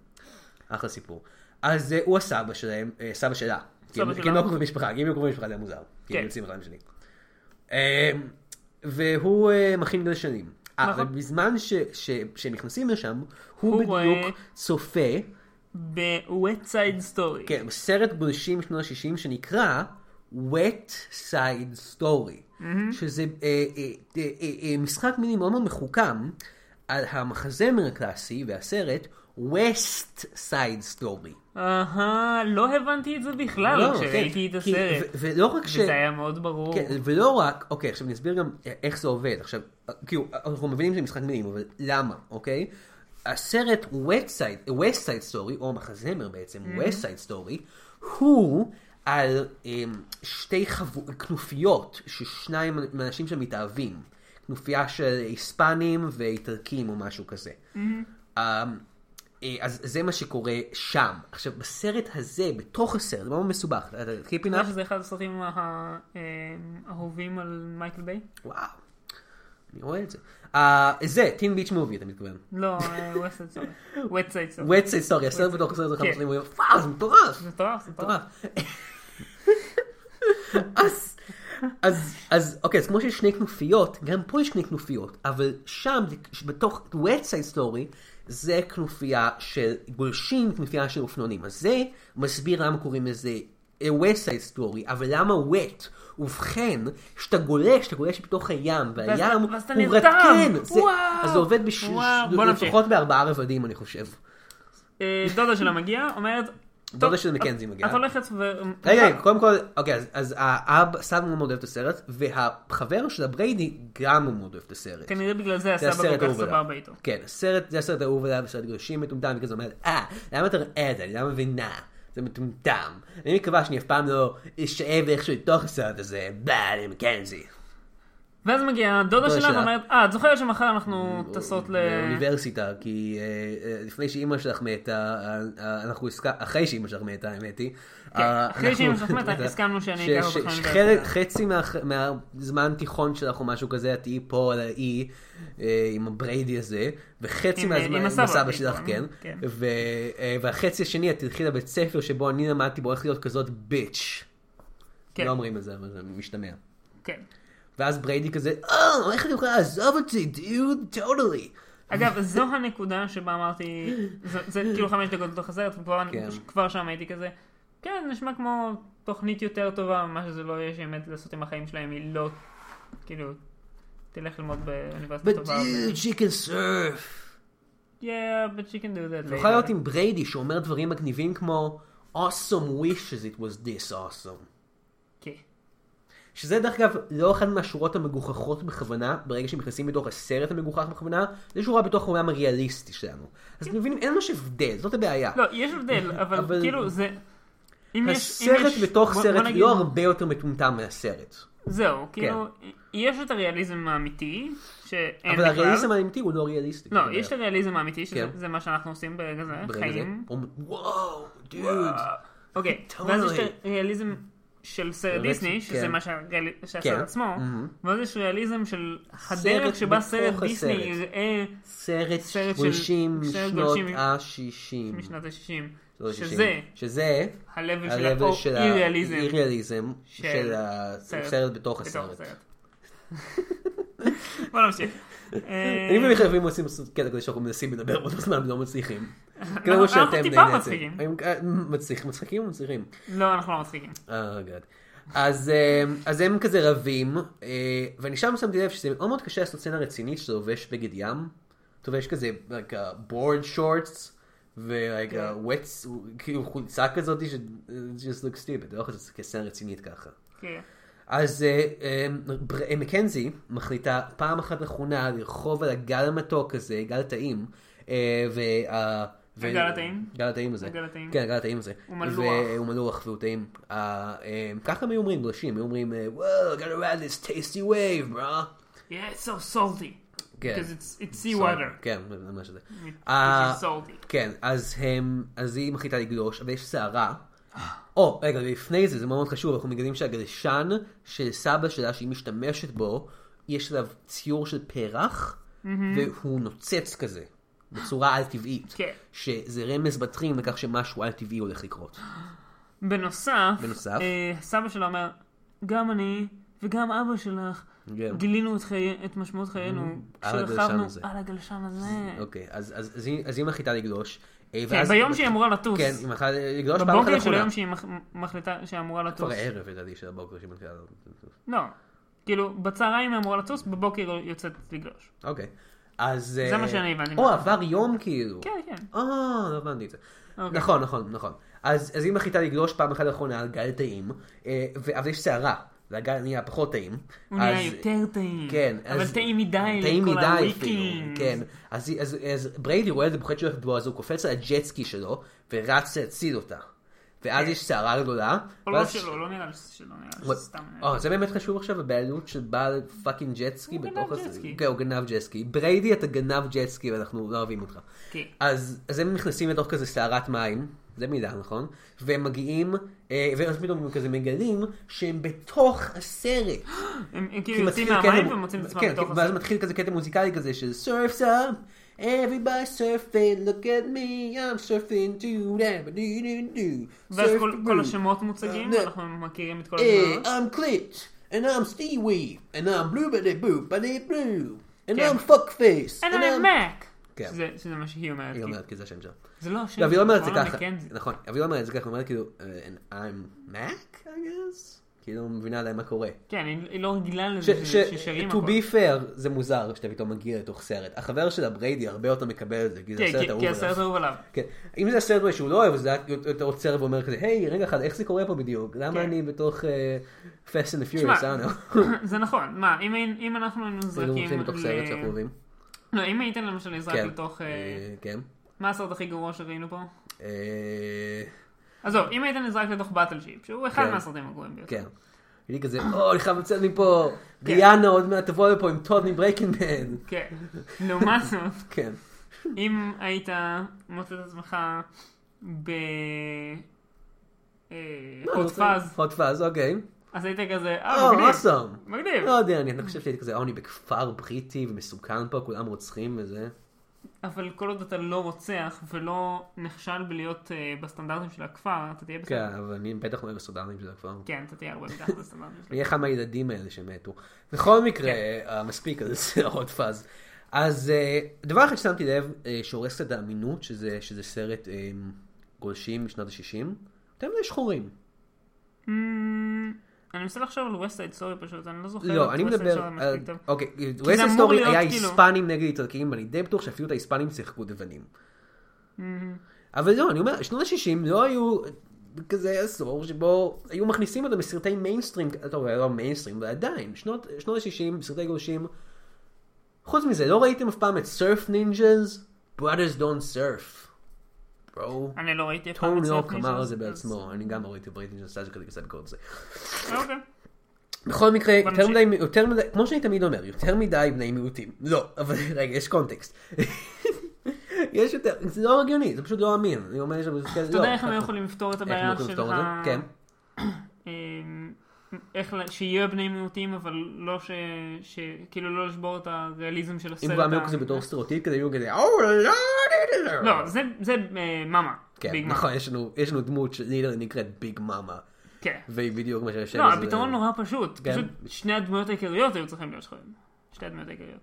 Speaker 1: אחלה סיפור. אז אה, הוא הסבא שלהם, אה, סבא שלה. כי הם-
Speaker 2: שלה.
Speaker 1: כי הם לא קרובי משפחה, כי אם הם קרובי משפחה זה היה מוזר. כי הם
Speaker 2: כן.
Speaker 1: יוצאים אחד משני. אמ, והוא אה, מכין גלשנים. אה,
Speaker 2: נכון.
Speaker 1: אבל בזמן ש- ש- שהם נכנסים לשם, הוא
Speaker 2: הוא
Speaker 1: בדיוק
Speaker 2: רואה-
Speaker 1: צופה
Speaker 2: ב-Wet Side Story.
Speaker 1: כן, סרט בלשים שנות ה-60 שנקרא Wet Side Story, שזה אה, אה, אה, אה, אה, משחק מילים מאוד מאוד מחוכם על המחזמר הקלאסי והסרט West Side Story.
Speaker 2: אהה, לא הבנתי את זה בכלל
Speaker 1: לא,
Speaker 2: אה, כשראיתי
Speaker 1: כן,
Speaker 2: את
Speaker 1: כי-
Speaker 2: הסרט.
Speaker 1: ו- ולא רק ש...
Speaker 2: וזה היה מאוד ברור.
Speaker 1: כן, ולא רק, אוקיי, עכשיו נסביר גם איך זה עובד. עכשיו, כאילו, אנחנו מבינים שזה משחק מילים, אבל למה, אוקיי? הסרט West Side, West Side Story, או המחזמר בעצם, West Side Story, הוא על אמ, שתי חבו... כנופיות ששניים מהאנשים שם מתאהבים. כנופיה של היספנים ואיטלקים או משהו כזה. אמ, אה, אז זה מה שקורה שם. עכשיו, בסרט הזה, בתוך הסרט, זה מאוד מסובך. אתה יודע, Keeping
Speaker 2: אתה
Speaker 1: Up
Speaker 2: יודע שזה אחד הסרטים הה- אמ, האהובים על מייקל ביי?
Speaker 1: וואו, אני רואה את זה. אה, זה, טין ביץ' מובי, אתה מתכוון.
Speaker 2: לא, ווסט סייד סורי. ווסט סייד סורי.
Speaker 1: וט סייד סטורי, הסרט בתוך הסרט הזה
Speaker 2: כן.
Speaker 1: חמש שנים, הוא אומר, פאק, זה מטורף,
Speaker 2: זה
Speaker 1: זה
Speaker 2: מטורף, זה מטורף.
Speaker 1: מטורף. אז, אז, אז, אוקיי, אז כמו שיש שני כנופיות, גם פה יש שני כנופיות, אבל שם, זה- בתוך וט סייד סטורי, זה כנופיה של גולשים, כנופיה של אופנונים. אז זה מסביר למה קוראים לזה וט סייד סטורי, אבל למה וט? ובכן, כשאתה גולש, אתה גולש בתוך הים,
Speaker 2: ואז-
Speaker 1: והים
Speaker 2: ואז אתה
Speaker 1: הוא
Speaker 2: נרדם.
Speaker 1: רתקן. זה-
Speaker 2: וואו.
Speaker 1: אז זה עובד בש-
Speaker 2: וואו. בוא נמשיך.
Speaker 1: לפחות בארבעה רבדים, אני חושב.
Speaker 2: אה, דודה שלה מגיעה, אומרת...
Speaker 1: דודה
Speaker 2: "טוב,
Speaker 1: של
Speaker 2: את-
Speaker 1: מקנזי מגיעה."
Speaker 2: את הולכת ו...
Speaker 1: רגע,
Speaker 2: לא.
Speaker 1: רגע, קודם כל, אוקיי, אז- אז האב סתם מאוד אוהב את הסרט, והחבר של הבריידי גם מאוד אוהב את הסרט.
Speaker 2: כנראה בגלל זה
Speaker 1: זה
Speaker 2: כן, הסבא
Speaker 1: הסרט
Speaker 2: כל כך
Speaker 1: האהוב עליו.
Speaker 2: סבבה איתו.
Speaker 1: כן, הסרט, זה הסרט האהוב עליו, סרט גולשים מטומטם, וכזה אומר, אה, למה אתה רואה את זה? אני לא מבינה. זה מטומטם. אני מקווה שאני אף פעם לא אשאב איכשהו לתוך הסרט הזה, ביי, מקנזי.
Speaker 2: ואז מגיעה דודה
Speaker 1: דודה
Speaker 2: שלה
Speaker 1: שלה.
Speaker 2: ואומרת, אה, את זוכרת שמחר אנחנו טסות ל...
Speaker 1: לאוניברסיטה, כי אה, אה, לפני שאימא שלך מתה, אה, אה, אנחנו הסכמנו, אחרי שאימא שלך מתה, האמת היא. אה,
Speaker 2: כן, אחרי שאימא
Speaker 1: אנחנו-
Speaker 2: שלך מתה, הסכמנו שאני
Speaker 1: ש-
Speaker 2: אקח אותך
Speaker 1: ש-
Speaker 2: לאוניברסיטה.
Speaker 1: שחלק- חצי מה- מהזמן תיכון שלך או משהו כזה, את תהיי פה על האי אה, עם הבריידי הזה, וחצי
Speaker 2: עם- אה, עם
Speaker 1: מהזמן, עם
Speaker 2: הסבא
Speaker 1: הסבא
Speaker 2: בעיקרון,
Speaker 1: שלך, כן.
Speaker 2: כן.
Speaker 1: ו- אה, והחצי השני, את תלכי לבית ספר שבו אני למדתי בו איך להיות כזאת ביץ'.
Speaker 2: כן.
Speaker 1: לא אומרים את זה, אבל זה משתמע.
Speaker 2: כן.
Speaker 1: ואז בריידי כזה, אה, איך אני יכולה לעזוב אותי, dude, totally.
Speaker 2: אגב, זו הנקודה שבה אמרתי, זה, זה כאילו חמש דקות לתוך הסרט, וכבר
Speaker 1: כן.
Speaker 2: כבר שם הייתי כזה, כן, נשמע כמו תוכנית יותר טובה, מה שזה לא יהיה שבאמת לעשות עם החיים שלהם, היא לא, כאילו, תלך ללמוד באוניברסיטה
Speaker 1: But
Speaker 2: טובה.
Speaker 1: dude, she can surf.
Speaker 2: Yeah, but she can do
Speaker 1: זה
Speaker 2: that. later."
Speaker 1: יכול להיות עם בריידי שאומר דברים מגניבים כמו awesome wishes it was this awesome.
Speaker 2: כן.
Speaker 1: שזה דרך אגב לא אחת מהשורות המגוחכות בכוונה, ברגע שנכנסים לתוך הסרט המגוחך בכוונה, זה שורה בתוך העולם הריאליסטי שלנו. אז אתם מבינים, אין ממש הבדל, זאת הבעיה.
Speaker 2: לא, יש הבדל, אבל,
Speaker 1: אבל-
Speaker 2: כאילו, זה... אם יש- אם
Speaker 1: הסרט
Speaker 2: יש-
Speaker 1: בתוך
Speaker 2: בוא-
Speaker 1: סרט
Speaker 2: בוא נגיד-
Speaker 1: לא הרבה כן. יותר מטומטם מהסרט.
Speaker 2: זהו, כאילו, יש את הריאליזם האמיתי, שאין בכלל.
Speaker 1: אבל הריאליזם האמיתי הוא לא ריאליסטי.
Speaker 2: לא,
Speaker 1: זה
Speaker 2: יש את
Speaker 1: הבעיה.
Speaker 2: הריאליזם האמיתי, שזה
Speaker 1: כן.
Speaker 2: זה מה שאנחנו עושים ברגע זה,
Speaker 1: ברגע זה,
Speaker 2: חיים.
Speaker 1: אומרים, וואו, דוד.
Speaker 2: אוקיי,
Speaker 1: אה, Totally.
Speaker 2: ואז יש את הריאליזם של סרט
Speaker 1: באמת, כן.
Speaker 2: דיסני, שזה מה שהריאל-
Speaker 1: כן.
Speaker 2: שהסרט עצמו,
Speaker 1: מהמם.
Speaker 2: ואז יש ריאליזם של
Speaker 1: סרט
Speaker 2: הדרך שבה סרט
Speaker 1: בתוך
Speaker 2: דיסני
Speaker 1: הסרט.
Speaker 2: יראה
Speaker 1: סרט
Speaker 2: סרט של-
Speaker 1: גולשים
Speaker 2: סרט
Speaker 1: משנות
Speaker 2: גולשים
Speaker 1: ה-60.
Speaker 2: משנות ה-60,
Speaker 1: לא, 60.
Speaker 2: שזה
Speaker 1: שזה
Speaker 2: ה-level של
Speaker 1: ה-level של
Speaker 2: האי-ריאליזם
Speaker 1: האי-ריאליזם
Speaker 2: של
Speaker 1: של הסרט בתוך הסרט.
Speaker 2: בוא נמשיך. אה,
Speaker 1: אני ומיכאל לפעמים עושים לעשות קטע כזה שאנחנו מנסים לדבר באותו זמן ולא מצליחים. כאילו, כמו
Speaker 2: אנחנו
Speaker 1: שאתם
Speaker 2: טיפה
Speaker 1: נהניתם.
Speaker 2: מצחיקים.
Speaker 1: אני- אה, מצליחים, מצחיקים או מצליחים?
Speaker 2: לא, אנחנו לא מצחיקים.
Speaker 1: אה, גאד. אז אה, אז הם כזה רבים, אה, ואני שם שמתי לב שזה מאוד מאוד קשה לעשות סצנה רצינית שאתה לובש בגד ים. אתה לובש כזה, like a board shorts, ו-like a wet, כאילו חולצה כזאת, ש- it just looks stupid, אתה לא יכול לעשות סצנה רצינית ככה.
Speaker 2: כן.
Speaker 1: אז אה, אה, בר- אה, מקנזי מחליטה פעם אחת אחרונה לרכוב על הגל המתוק הזה, גל טעים. אה, וה- ו-
Speaker 2: הגל הטעים?
Speaker 1: גל הטעים הזה.
Speaker 2: הגל הטעים.
Speaker 1: כן, הגל הטעים הזה.
Speaker 2: הוא מלוח.
Speaker 1: והוא מלוח והוא טעים. אה, אה, ככה הם היו אומרים, גולשים, היו אומרים, אה, Whoa, gotta ride this tasty wave, bro.
Speaker 2: Yeah, it's so salty.
Speaker 1: כן.
Speaker 2: Because it's- it's sea water.
Speaker 1: כן, זה מה שזה.
Speaker 2: It's
Speaker 1: אה,
Speaker 2: salty.
Speaker 1: כן, אז הם, אז היא מחליטה לגלוש, אבל יש סערה.
Speaker 2: אה.
Speaker 1: או, רגע, לפני זה, זה מאוד מאוד חשוב, אנחנו מגלים שהגלשן של סבא שלה, שהיא משתמשת בו, יש עליו ציור של פרח, והוא נוצץ כזה, בצורה על-טבעית.
Speaker 2: כן.
Speaker 1: שזה רמז בטרים לכך שמשהו על-טבעי הולך לקרות.
Speaker 2: בנוסף,
Speaker 1: בנוסף?
Speaker 2: אה, סבא שלה אומר, גם אני וגם אבא שלך
Speaker 1: כן. Mm-hmm.
Speaker 2: גילינו את, חיי, את משמעות חיינו
Speaker 1: על הגלשן
Speaker 2: כשרכבנו
Speaker 1: הזה."
Speaker 2: על הגלשן הזה.
Speaker 1: אוקיי, אז, אז, אז, היא, אז היא מחליטה לגלוש, אה,
Speaker 2: כן,
Speaker 1: ואז-
Speaker 2: ביום שהיא אמורה לטוס.
Speaker 1: כן, היא מחלה לגלוש פעם אחת
Speaker 2: בבוקר של
Speaker 1: לכולם.
Speaker 2: היום שהיא מח- מחליטה שהיא אמורה לטוס.
Speaker 1: כבר הערב לדעתי של הבוקר שהיא מתחילה לטוס.
Speaker 2: לא. כאילו, בצהריים היא אמורה לטוס, בבוקר היא יוצאת לגלוש.
Speaker 1: אוקיי. אז...
Speaker 2: זה
Speaker 1: אה,
Speaker 2: מה שאני הבנתי.
Speaker 1: או, עבר יום כאילו.
Speaker 2: כן, כן.
Speaker 1: אה, לא הבנתי את זה.
Speaker 2: אוקיי.
Speaker 1: נכון, נכון, נכון. אז אז היא מחליטה לגלוש פעם אחת אחרונה על גל טעים, אה, ו- אבל יש סערה, והגל נהיה פחות טעים.
Speaker 2: הוא נהיה
Speaker 1: אז-
Speaker 2: יותר טעים.
Speaker 1: כן,
Speaker 2: אבל טעים מדי
Speaker 1: טעים
Speaker 2: לכל
Speaker 1: מדי אפילו,
Speaker 2: הוויקינגס.
Speaker 1: כן. אז, אז, אז בריידי רואה את זה בוחד שהולך לדוע, אז הוא קופץ על הג'טסקי שלו, ורץ להציל אותה. ואז יש סערה גדולה.
Speaker 2: כן. או לא
Speaker 1: ואז-
Speaker 2: שלא, לא נראה לי שלא נראה
Speaker 1: וואל-
Speaker 2: לי סתם. לא
Speaker 1: אה, זה באמת חשוב עכשיו, הבעלות של בעל פאקינג ג'טסקי
Speaker 2: הוא גנב
Speaker 1: בתוך הזה.
Speaker 2: ג'טסקי.
Speaker 1: כן, הוא גנב ג'טסקי. בריידי, אתה גנב ג'טסקי ואנחנו לא אוהבים אותך.
Speaker 2: כן.
Speaker 1: אז אז הם נכנסים לתוך כזה סערת מים, זה מידע נכון? והם מגיעים, אה, ואז פתאום הם כזה מגלים שהם בתוך הסרט.
Speaker 2: הם הם
Speaker 1: כי
Speaker 2: כאילו יוצאים
Speaker 1: מתחיל
Speaker 2: מהמים
Speaker 1: קטע-
Speaker 2: ומוצאים את עצמם
Speaker 1: כן,
Speaker 2: בתוך
Speaker 1: כן, ואז
Speaker 2: הסרט.
Speaker 1: מתחיל כזה קטע מוזיקלי כזה של surf's up, everybody surfing, look at me, I'm surfing too, da- do- do- do,
Speaker 2: ואז
Speaker 1: surf
Speaker 2: כל-
Speaker 1: the
Speaker 2: כל
Speaker 1: boot.
Speaker 2: השמות מוצגים,
Speaker 1: אה,
Speaker 2: אנחנו מכירים את כל
Speaker 1: Hey,
Speaker 2: הדברים.
Speaker 1: I'm Clit, and I'm Stewie, and I'm blue bitty boo bitty blue, and
Speaker 2: כן.
Speaker 1: I'm fuckface.
Speaker 2: And I'm
Speaker 1: אה,
Speaker 2: Mac.
Speaker 1: כן.
Speaker 2: שזה- שזה מה שהיא אומרת.
Speaker 1: היא
Speaker 2: כאילו.
Speaker 1: אומרת כי זה השם שלה.
Speaker 2: זה לא השם.
Speaker 1: לא, אבל היא לא אומרת את זה
Speaker 2: קוראים לה
Speaker 1: ככה.
Speaker 2: מקנזי.
Speaker 1: נכון, אבל היא לא אומרת את זה ככה, היא אומרת כאילו, "Uh, and I'm Mac, I guess? כאילו, היא לא מבינה עדיין מה קורה.
Speaker 2: כן, היא היא לא רגילה
Speaker 1: ש-
Speaker 2: לזה ש-
Speaker 1: ש-
Speaker 2: ששרים
Speaker 1: to
Speaker 2: הכול.
Speaker 1: be fair, זה מוזר שאתה פתאום מגיע לתוך סרט. החבר שלה, בריידי, הרבה יותר מקבל את זה, כי זה
Speaker 2: כן,
Speaker 1: הסרט
Speaker 2: כי- כי
Speaker 1: האהוב
Speaker 2: הסרט
Speaker 1: עליו.
Speaker 2: אהוב עליו.
Speaker 1: כן. אם זה הסרט אולי שהוא לא אוהב, אז זה היה יותר עוצר ואומר כזה, היי, רגע אחד, איך זה קורה פה בדיוק? למה
Speaker 2: כן.
Speaker 1: אני בתוך אה, Fast and the
Speaker 2: תשמע,
Speaker 1: Furious, אה, נו?
Speaker 2: זה נכון, מה, אם היינו- אם אנחנו היינו
Speaker 1: היינו
Speaker 2: נזרקים...
Speaker 1: מוצאים כאילו, בתוך סרט
Speaker 2: ל-
Speaker 1: שאנחנו אוהבים.
Speaker 2: לא, אם הייתם למשל נזרק
Speaker 1: כן.
Speaker 2: לתוך... אה,
Speaker 1: אה, כן.
Speaker 2: מה הסרט הכי גרוע שראינו פה?
Speaker 1: אה,
Speaker 2: עזוב, אם היית נזרק לתוך באטלשיפ, שהוא אחד
Speaker 1: כן.
Speaker 2: מהסרטים הגרועים ביותר.
Speaker 1: כן. הייתי כזה, או, אני חייב לצאת מפה, ריאנה עוד מעט תבוא לפה עם טוד מברייקינמן.
Speaker 2: כן. לעומת זאת,
Speaker 1: כן.
Speaker 2: אם היית מוצא את עצמך ב... אה,
Speaker 1: לא,
Speaker 2: חוט פאז,
Speaker 1: hot fuzz, אוקיי.
Speaker 2: אז היית כזה,
Speaker 1: או,
Speaker 2: אה, מגניב,
Speaker 1: awesome.
Speaker 2: מגניב.
Speaker 1: לא יודע, אני אני חושב שהייתי כזה, עוני בכפר בריטי ומסוכן פה, כולם רוצחים וזה.
Speaker 2: אבל כל עוד אתה לא רוצח ולא נכשל בלהיות אה, בסטנדרטים של הכפר, אתה תהיה
Speaker 1: כן,
Speaker 2: בסדר.
Speaker 1: אבל אני בטח לא אוהב הסודנים של הכפר.
Speaker 2: כן, אתה תהיה הרבה מתחת לסטנדרטים של
Speaker 1: אני אהיה אחד מהילדים האלה שמתו. בכל מקרה, המספיק הזה זה עוד פאז. אז אה, דבר אחד ששמתי לב, אה, שהורס את האמינות, שזה שזה סרט אה, גולשים משנות ה-60, יותר מדי שחורים.
Speaker 2: Mm, אני מנסה לחשוב על West Side Story פשוט, אני לא זוכר.
Speaker 1: לא,
Speaker 2: את
Speaker 1: אני
Speaker 2: West Side
Speaker 1: מדבר,
Speaker 2: Story
Speaker 1: על-
Speaker 2: מספיק טוב.
Speaker 1: אוקיי,
Speaker 2: זה
Speaker 1: וייסט
Speaker 2: אמור
Speaker 1: סטורי
Speaker 2: להיות
Speaker 1: היה
Speaker 2: כאילו-
Speaker 1: היספנים נגד איטלקים, ואני די בטוח שאפילו את ההיספנים שיחקו לבנים.
Speaker 2: Mm-hmm.
Speaker 1: אבל לא, אני אומר, שנות ה-60 לא היו כזה עשור שבו היו מכניסים אותם לסרטי מיינסטרים, טוב, לא מיינסטרים, אבל עדיין, שנות ה-60, סרטי גולשים. חוץ מזה, לא ראיתם אף פעם את סרף נינג'ז? Brothers don't surf. ברו.
Speaker 2: אני לא ראיתי אף
Speaker 1: טום
Speaker 2: את
Speaker 1: לוק
Speaker 2: Self
Speaker 1: אמר
Speaker 2: Nations,
Speaker 1: את זה
Speaker 2: אז-
Speaker 1: בעצמו, אני גם לא ראיתי ברייטינג של סטאז' כזה עשה ביקורת על זה.
Speaker 2: אוקיי.
Speaker 1: בכל מקרה, יותר
Speaker 2: נמשיך.
Speaker 1: מדי, יותר מדי, כמו שאני תמיד אומר, יותר מדי בני מיעוטים. לא, אבל רגע, יש קונטקסט. יש יותר, זה לא הגיוני, זה פשוט לא אמין. אני אומר שם,
Speaker 2: אתה יודע איך הם היו יכולים לפתור את
Speaker 1: לא, איך הם
Speaker 2: הבעיה
Speaker 1: יכולים
Speaker 2: של
Speaker 1: לפתור את זה?
Speaker 2: ה...
Speaker 1: כן,
Speaker 2: אמ, איך ל- שיהיו בני מיעוטים, אבל לא ש... ש- כאילו לא לשבור את הריאליזם של הסרט.
Speaker 1: אם כולם
Speaker 2: ה- אה,
Speaker 1: היו כזה בתור סטריאוטיפ כזה, היו כזה, או לא, לא, לא,
Speaker 2: לא, זה- זה אה, מאמה.
Speaker 1: כן,
Speaker 2: ביג מאמה.
Speaker 1: נכון, יש לנו- יש לנו דמות שלילה נקראת ביג מאמה,
Speaker 2: כן.
Speaker 1: והיא בדיוק מה שיושב.
Speaker 2: לא, הפתרון נורא פשוט.
Speaker 1: כן.
Speaker 2: פשוט שני הדמויות העיקריות היו צריכים להיות שחורים. שתי הדמויות העיקריות.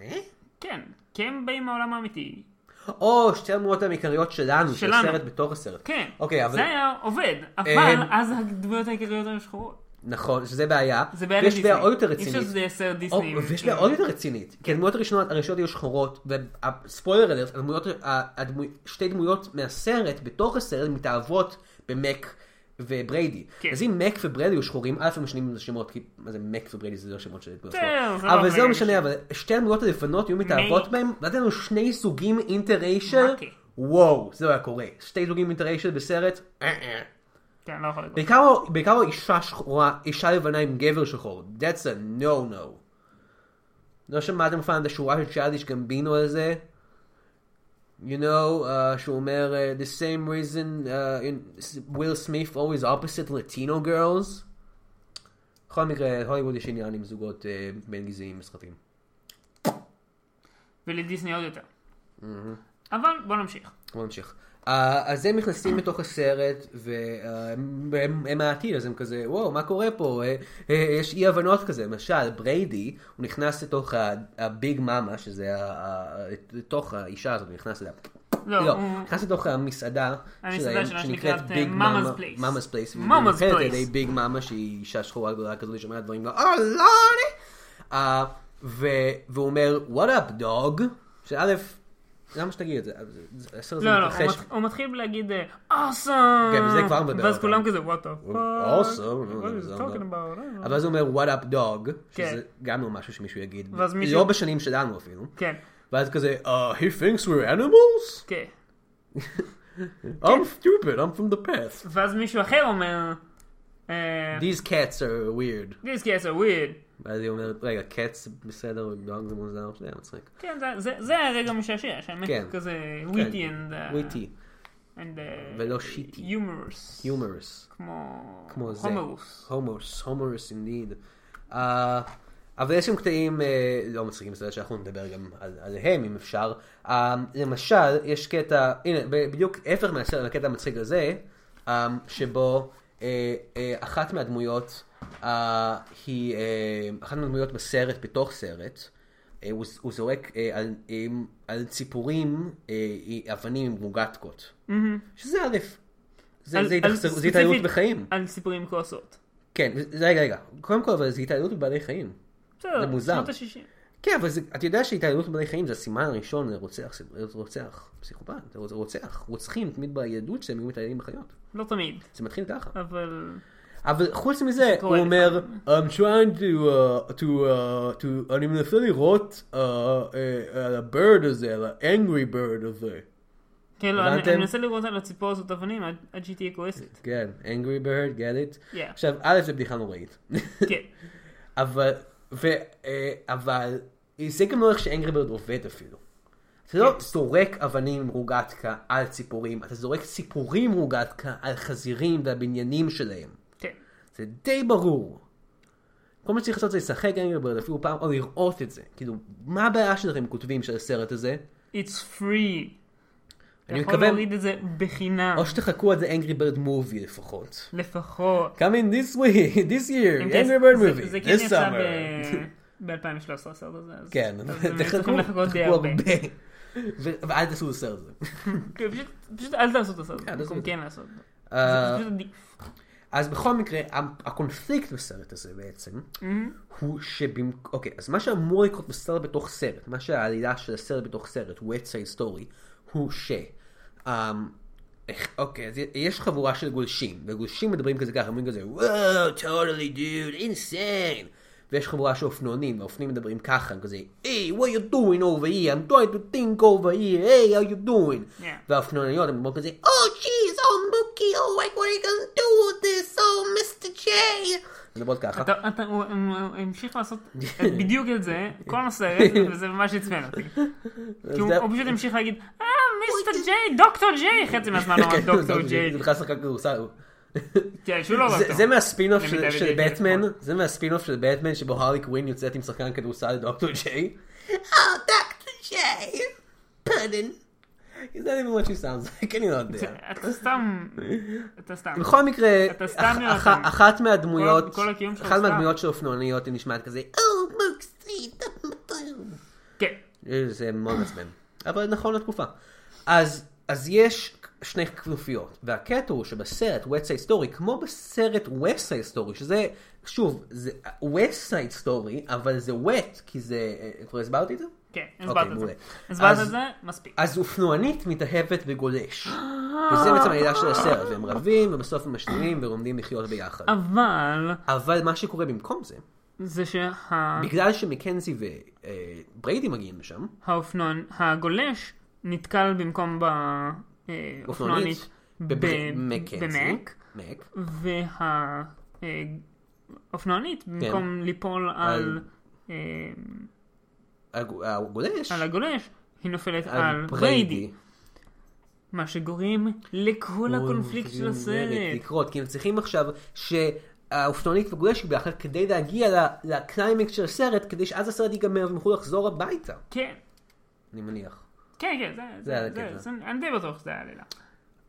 Speaker 1: אה?
Speaker 2: כן, כי הם באים מהעולם האמיתי.
Speaker 1: או שתי הדמויות העיקריות שלנו, של
Speaker 2: שלנו.
Speaker 1: הסרט בתוך הסרט.
Speaker 2: כן,
Speaker 1: אוקיי, אבל-
Speaker 2: זה היה עובד, אבל
Speaker 1: אמ,
Speaker 2: אז הדמויות העיקריות היו שחורות.
Speaker 1: נכון, שזה בעיה.
Speaker 2: זה בעיה
Speaker 1: ויש
Speaker 2: לדיסני.
Speaker 1: בעיה עוד יותר
Speaker 2: אי אפשר
Speaker 1: רצינית.
Speaker 2: שזה יהיה סרט
Speaker 1: או,
Speaker 2: דיסני.
Speaker 1: אוקיי, ויש בעיה עוד יותר רצינית, כי הדמויות הראשונות הראשונות היו שחורות, והספוילר אלרט, הדמויות- ה- הדמו- שתי דמויות מהסרט, בתוך הסרט, מתאהבות במק ובריידי.
Speaker 2: כן.
Speaker 1: אז אם מק ובריידי היו שחורים, א' הם משנים את השמות, כי מה זה מק ובריידי זה לא שמות של דמויות
Speaker 2: כן,
Speaker 1: שחורות.
Speaker 2: זה לא
Speaker 1: אבל זה לא
Speaker 2: מרגש.
Speaker 1: משנה, אבל שתי הדמויות הלבנות היו מתאהבות
Speaker 2: מק.
Speaker 1: בהם, ואז היה לנו שני סוגים אינטריישר,
Speaker 2: מקי.
Speaker 1: וואו, זה לא היה קורה. שתי סוגים אינטריישר בסרט, אה, אה.
Speaker 2: כן, לא יכול להיות.
Speaker 1: בעיקר, בעיקר אישה שחורה, אישה לבנה עם גבר שחור. That's a no no. לא שמעתם פעם את השורה של צ'אדיש גמבינו על זה? You know, uh, שהוא אומר, uh, the same reason uh, in Will Smith always opposite Latino girls. בכל מקרה, הוליווד יש עניין עם זוגות uh, בין גזעיים בסרטים.
Speaker 2: ולדיסני עוד יותר. אבל בוא נמשיך.
Speaker 1: בוא נמשיך. Uh, אז הם נכנסים לתוך הסרט, והם הם, הם העתיד, אז הם כזה, וואו, מה קורה פה? אה, אה, יש אי הבנות כזה. למשל, בריידי, הוא נכנס לתוך ה- הביג מאמה, שזה ה- ה- לתוך האישה הזאת, הוא נכנס אליה.
Speaker 2: לא,
Speaker 1: לא,
Speaker 2: הוא-
Speaker 1: נכנס לתוך המסעדה
Speaker 2: המסעדה
Speaker 1: שלהם,
Speaker 2: שלהם
Speaker 1: שנקראת
Speaker 2: שנקראת,
Speaker 1: ביג
Speaker 2: אה,
Speaker 1: מאמה,
Speaker 2: Mama's Place.
Speaker 1: מאמא's פלייס,
Speaker 2: Mama's
Speaker 1: מומחרת
Speaker 2: Place.
Speaker 1: על ידי ביג מאמה שהיא אישה שחורה גדולה כזאת שאומרת דברים, אה לא, והוא אומר, what up dog, שא', למה שתגיד את זה, אז זה- הסרט הזה
Speaker 2: לא, לא, הוא
Speaker 1: מתרחש,
Speaker 2: מת- הוא מתחיל להגיד אוסם!
Speaker 1: כן, וזה כבר מדבר
Speaker 2: ואז
Speaker 1: על
Speaker 2: כולם
Speaker 1: זה.
Speaker 2: כזה, וואט אפ.
Speaker 1: Awesome, לא,
Speaker 2: What
Speaker 1: זה לא-
Speaker 2: is talking about?
Speaker 1: אבל אז הוא אומר, what up dog,
Speaker 2: כן.
Speaker 1: שזה גם לא משהו שמישהו יגיד,
Speaker 2: ואז מישהו-
Speaker 1: לא בשנים שלנו אפילו,
Speaker 2: כן,
Speaker 1: ואז כזה, "Uh, he thinks we're animals?
Speaker 2: כן.
Speaker 1: I'm stupid, I'm from the past.
Speaker 2: ואז מישהו אחר אומר, אה,
Speaker 1: These cats are weird.
Speaker 2: These guys are weird.
Speaker 1: ואז היא אומרת, רגע, קץ בסדר, דוג זה מוזר, שזה היה מצחיק.
Speaker 2: כן, זה- זה- זה הרגע משעשע, שהאמת
Speaker 1: כן.
Speaker 2: הוא כזה אה, וויטי
Speaker 1: וויטי, ולא שיטי.
Speaker 2: יומרס.
Speaker 1: יומרס,
Speaker 2: אה, כמו
Speaker 1: כמו זה.
Speaker 2: הומרוס.
Speaker 1: הומוס, הומוס אינדיד. Uh, אבל יש שם קטעים אה, לא מצחיקים, בסדר שאנחנו נדבר גם על- עליהם אם אפשר. אה, למשל, יש קטע, הנה, ב- בדיוק ההפך מהסרט, הקטע המצחיק הזה, אה, שבו אה, אה, אחת מהדמויות אה, היא, אה, אחת מהדמויות בסרט, בתוך סרט, אה, הוא הוא זורק אה, על- אה, על ציפורים אה, אבנים עם רוגטקות. שזה א', זה
Speaker 2: על-
Speaker 1: זה
Speaker 2: על-
Speaker 1: התאכזר- זה
Speaker 2: ספציפית
Speaker 1: התעללות בחיים.
Speaker 2: על סיפורים כועסות.
Speaker 1: כן, זה- רגע, רגע. קודם כל, אבל זה התעללות בבעלי חיים.
Speaker 2: בסדר,
Speaker 1: זה מוזר.
Speaker 2: שנות ה-60.
Speaker 1: כן, אבל זה, אתה יודע שהתעללות בבעלי חיים זה הסימן הראשון לרוצח, רוצח, פסיכופת, זה רוצח. רוצחים תמיד ביהדות שהם היו מתעללים בחיות.
Speaker 2: לא תמיד,
Speaker 1: זה מתחיל ככה.
Speaker 2: אבל...
Speaker 1: אבל חוץ מזה, הוא
Speaker 2: קורה
Speaker 1: אומר, I'm trying to, uh, to, uh, to, אני מנסה לראות uh, uh, על ה-bird הזה, על ה-angry bird הזה.
Speaker 2: כן, לא, אני
Speaker 1: הבנתם?
Speaker 2: אני מנסה לראות על הציפור הזאת אבנים עד עד שהיא תהיה כועסת.
Speaker 1: כן, angry bird, get it?
Speaker 2: Yeah.
Speaker 1: עכשיו, א', זה בדיחה נוראית.
Speaker 2: כן.
Speaker 1: אבל, ו, אה, אבל זה גם לא איך שאנגריברד עובד אפילו. אתה
Speaker 2: כן.
Speaker 1: לא זורק אבנים עם רוגטקה על ציפורים, אתה זורק ציפורים עם רוגטקה על חזירים והבניינים שלהם.
Speaker 2: כן.
Speaker 1: זה די ברור. כל מה שצריך לעשות זה לשחק אנגריברד אפילו פעם, או לראות את זה. כאילו, מה הבעיה שלכם כותבים של הסרט הזה?
Speaker 2: It's free. אתה
Speaker 1: אני
Speaker 2: יכול
Speaker 1: מקווה-
Speaker 2: להוריד את זה בחינם.
Speaker 1: או שתחכו עד אנגריברד מובי לפחות.
Speaker 2: לפחות.
Speaker 1: Coming this way, this year,
Speaker 2: אם
Speaker 1: Angry
Speaker 2: זה-
Speaker 1: Bird
Speaker 2: זה-
Speaker 1: movie,
Speaker 2: זה כן
Speaker 1: this
Speaker 2: יצא
Speaker 1: summer.
Speaker 2: ב-2013 הסרט הזה. אז-
Speaker 1: כן,
Speaker 2: אז הם צריכים לחכות די
Speaker 1: תחכו
Speaker 2: הרבה.
Speaker 1: ו- ואל תעשו את הסרט הזה.
Speaker 2: כן, פשוט- פשוט אל תעשו את הסרט הזה,
Speaker 1: אל תעשו
Speaker 2: במקום
Speaker 1: את זה.
Speaker 2: כן לעשות. אותו.
Speaker 1: לא אה,
Speaker 2: זה פשוט עדיף.
Speaker 1: אז בכל מקרה, ה- הקונפליקט בסרט הזה בעצם, הוא שבמק... אוקיי, אז מה שאמור לקרות בסרט בתוך סרט, מה שהעלילה של הסרט בתוך סרט, הוא עץ ההיסטורי, הוא ש... אמ, איך- אוקיי, אז יש חבורה של גולשים, וגולשים מדברים כזה ככה, אומרים כזה, וואו, totally dude, insane. ויש חבורה של אופנוענים, והאופנים מדברים ככה, כזה, היי, what you doing over here? I'm trying to think over here, היי, how you doing?
Speaker 2: Yeah.
Speaker 1: והאופנועניות הן מאוד כזה, Oh jeez, oh מוקי, oh like what are you gonna do with this, oh Mr. J. הן מדברות ככה.
Speaker 2: אתה- אתה- הוא הם- הוא המשיך לעשות בדיוק את זה, כל הסרט, וזה ממש עצבן אותי. כי הוא
Speaker 1: זה-
Speaker 2: הוא פשוט המשיך להגיד, אה, מיסטר ג'יי, דוקטור ג'יי, חצי מהזמן הוא אמר
Speaker 1: כן,
Speaker 2: דוקטור
Speaker 1: זה-
Speaker 2: ג'יי.
Speaker 1: זה בכלל שחקן כדורסל.
Speaker 2: כן, שהוא לא
Speaker 1: זה-
Speaker 2: דוקטור.
Speaker 1: זה מהספינוף
Speaker 2: זה
Speaker 1: של-
Speaker 2: מדויד
Speaker 1: של
Speaker 2: ג'יי
Speaker 1: בטמן,
Speaker 2: ג'יי.
Speaker 1: זה מהספינוף של בטמן שבו הרלי קווין יוצאת עם שחקן כדורסל לדוקטור ג'יי. Oh, דוקטור ג'יי, פרדן. Is that even what she sounds like? אני לא יודע.
Speaker 2: אתה סתם, אתה סתם.
Speaker 1: בכל מקרה,
Speaker 2: אתה סתם
Speaker 1: אח-
Speaker 2: נראה
Speaker 1: אח-
Speaker 2: סתם.
Speaker 1: אחת מהדמויות,
Speaker 2: כל- כל הקיום שלך
Speaker 1: אחת
Speaker 2: הוא סתם.
Speaker 1: מהדמויות של אופנועניות היא נשמעת כזה, Oh, מוקסי,
Speaker 2: כן,
Speaker 1: זה מאוד מעצבן. אבל נכון לתקופה. אז, אז יש שני כנופיות, והקטע הוא שבסרט West Side Story, כמו בסרט West Side Story, שזה, שוב, זה West Side Story, אבל זה wet, כי זה, אה, כבר הסברתי את זה?
Speaker 2: כן,
Speaker 1: אוקיי,
Speaker 2: הסברת את
Speaker 1: מעולה.
Speaker 2: זה. הסברת
Speaker 1: אז-
Speaker 2: את זה, מספיק.
Speaker 1: אז אופנוענית מתאהבת בגולש. וזה בעצם העלילה של הסרט, והם רבים, ובסוף הם משלימים ולומדים לחיות ביחד.
Speaker 2: אבל,
Speaker 1: אבל מה שקורה במקום זה,
Speaker 2: זה שה...
Speaker 1: בגלל שמקנזי ובריידי מגיעים לשם,
Speaker 2: האופנוען, הגולש נתקל במקום אה, באופנוענית
Speaker 1: אופנוענית, בבר- מקנזי,
Speaker 2: במק,
Speaker 1: מק,
Speaker 2: והאופנוענית
Speaker 1: כן.
Speaker 2: במקום ליפול על אה,
Speaker 1: הג- הגולש,
Speaker 2: על הגולש, היא נופלת
Speaker 1: על
Speaker 2: על בריידי, מה שגורם לכל הקונפליקט של הסרט.
Speaker 1: לקרות, כי הם צריכים עכשיו שהאופנוענית וגולש יהיו ביחד כדי להגיע ל- לקליימקס של הסרט, כדי שאז הסרט ייגמר והם יוכלו לחזור הביתה,
Speaker 2: כן,
Speaker 1: אני מניח.
Speaker 2: כן, כן, זה-
Speaker 1: זה
Speaker 2: זה,
Speaker 1: הקטע.
Speaker 2: זה, זה- אני די בטוח שזה היה עלילה.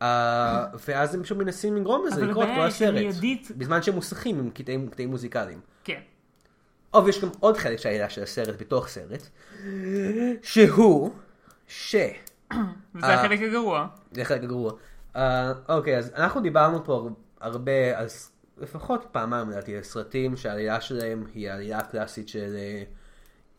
Speaker 1: אה, ואז הם פשוט מנסים לגרום לזה
Speaker 2: אבל
Speaker 1: לקרות
Speaker 2: הבעיה
Speaker 1: כמו
Speaker 2: היא
Speaker 1: הסרט,
Speaker 2: שמיידית-
Speaker 1: בזמן שהם מוסכים עם קטעים קטעים מוזיקליים.
Speaker 2: כן,
Speaker 1: או, ויש גם עוד חלק של העלילה של הסרט בתוך סרט, שהוא ש...
Speaker 2: וזה
Speaker 1: אה,
Speaker 2: החלק הגרוע.
Speaker 1: זה חלק גרוע. אה, אוקיי, אז אנחנו דיברנו פה הר- הרבה, אז לפחות פעמיים לדעתי, על סרטים שהעלילה שלהם היא העלילה הקלאסית של אה,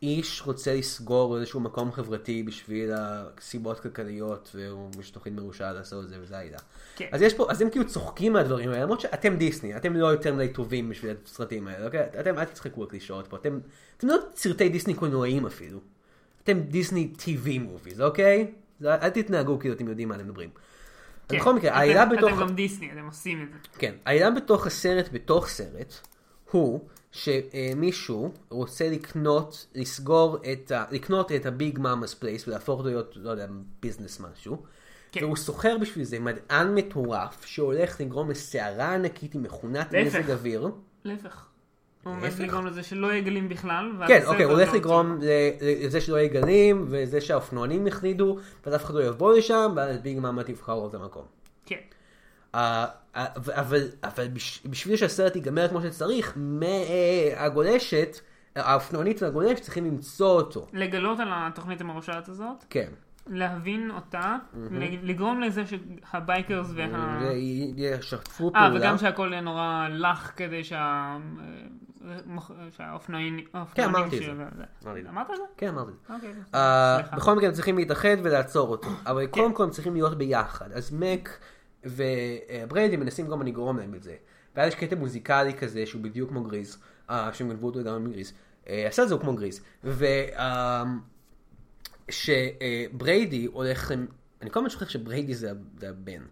Speaker 1: איש רוצה לסגור איזשהו מקום חברתי בשביל הסיבות כלכליות, והוא משתוכן מרושע לעשות את זה, וזה העלילה.
Speaker 2: כן.
Speaker 1: אז יש פה, אז הם כאילו צוחקים מהדברים האלה, למרות שאתם דיסני, אתם לא יותר מדי טובים בשביל הסרטים האלה, אוקיי? אתם, אל תצחקו על קלישאות פה, אתם, אתם לא סרטי דיסני קולנועיים אפילו. אתם דיסני TV מוביז, אוקיי? זה- אל תתנהגו כאילו אתם יודעים מה אתם מדברים. אז
Speaker 2: כן.
Speaker 1: בכל מקרה,
Speaker 2: אתם-
Speaker 1: העלילה בתוך...
Speaker 2: אתם גם דיסני, אתם עושים את זה.
Speaker 1: כן, העניין בתוך הסרט, בתוך סרט, הוא שמישהו רוצה לקנות, לסגור את ה... לקנות את הביג מאמא's פלייס ולהפוך אותו להיות, לא יודע, ביזנס משהו.
Speaker 2: כן.
Speaker 1: כן. והוא סוחר בשביל זה מדען מטורף שהולך לגרום לסערה ענקית עם מכונת
Speaker 2: להפך.
Speaker 1: מזג אוויר.
Speaker 2: להפך. הוא עומד
Speaker 1: להפך.
Speaker 2: לגרום לזה שלא יהיה גלים בכלל. ואז
Speaker 1: כן,
Speaker 2: הסרט
Speaker 1: אוקיי, הוא
Speaker 2: הזה
Speaker 1: הולך
Speaker 2: לא
Speaker 1: לגרום ל- לזה שלא יהיה גלים, וזה שהאופנוענים יחלידו, ואז אף אחד לא יבוא לשם, ואז ביג מאמה תבחר את המקום.
Speaker 2: כן.
Speaker 1: אה, אה, אבל, אבל בש- בשביל שהסרט ייגמר כמו שצריך, מ- אה, הגולשת, האופנוענית והגולש צריכים למצוא אותו.
Speaker 2: לגלות על התוכנית המרושעת הזאת,
Speaker 1: כן.
Speaker 2: להבין אותה, לג- לגרום לזה שהבייקרס וה...
Speaker 1: ישתפו
Speaker 2: אה,
Speaker 1: פעולה.
Speaker 2: וגם שהכל יהיה נורא לח כדי שה... אה, מח- שהאופנועים... האופנוענים
Speaker 1: כן, אמרתי את
Speaker 2: של-
Speaker 1: זה. אמרתי את זה.
Speaker 2: אמרת את זה?
Speaker 1: כן, אמרתי.
Speaker 2: אוקיי.
Speaker 1: אה,
Speaker 2: סליחה.
Speaker 1: בכל מקרה הם צריכים להתאחד ולעצור אותו, אבל קודם כל הם צריכים להיות ביחד. אז מק ובריידי מנסים גם לגרום להם את זה. ואז יש קטע מוזיקלי כזה שהוא בדיוק כמו גריז, אה, שהם גנבו אותו גם מגריז. אה, הסרט הזה הוא כמו גריז. אה, שבריידי אה, הולך, למ- אני כל הזמן שוכח שבריידי זה ה- זה הבן.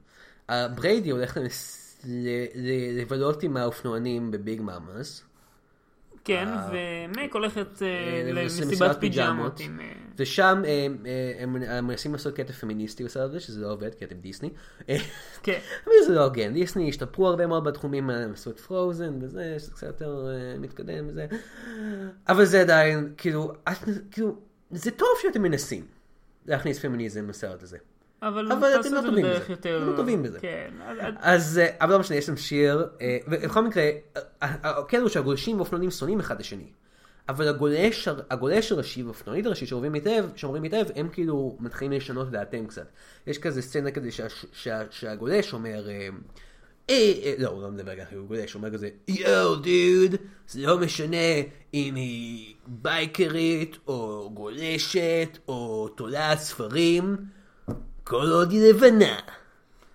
Speaker 1: אה, בריידי הולך למס- ל- ל- לבלות עם האופנוענים בביג מאמאס.
Speaker 2: כן, ומק הולכת אה,
Speaker 1: אה,
Speaker 2: למסיבת
Speaker 1: למסיבת
Speaker 2: פיג'מות
Speaker 1: פיג'מות.
Speaker 2: עם... אה,
Speaker 1: ושם הם, הם, הם מנסים לעשות קטע פמיניסטי בסרט הזה, שזה לא עובד, כי אתם דיסני. אה,
Speaker 2: כן.
Speaker 1: אבל זה לא הוגן, דיסני השתפרו הרבה מאוד בתחומים האלה, הם עשו את פרוזן וזה, שזה קצת יותר אה, מתקדם וזה. אבל זה עדיין, כאילו, את, כאילו, זה טוב שאתם מנסים להכניס פמיניזם לסרט הזה.
Speaker 2: אבל
Speaker 1: אבל אתם
Speaker 2: תעשו
Speaker 1: לא
Speaker 2: את זה
Speaker 1: טובים
Speaker 2: בדרך
Speaker 1: בזה.
Speaker 2: יותר...
Speaker 1: אתם לא טובים בזה.
Speaker 2: כן. אז- אז-
Speaker 1: אז, אה, אבל לא משנה, יש שם שיר, אה, ובכל מקרה, אה, אה, הקטע הוא שהגולשים והאופנונים שונאים אחד את השני. אבל הגולש, הר- הגולש הראשי והאופנונית הראשית שאומרים היטב, שאומרים היטב, הם כאילו מתחילים לשנות את דעתם קצת. יש כזה סצנה כזה שה, שה, שהגולש אומר, אה, אה, אה, לא, הוא לא מדבר ככה, הוא גולש, הוא אומר כזה, יואו דוד, זה לא משנה אם היא בייקרית, או גולשת, או תולעת ספרים, כל עוד היא לבנה.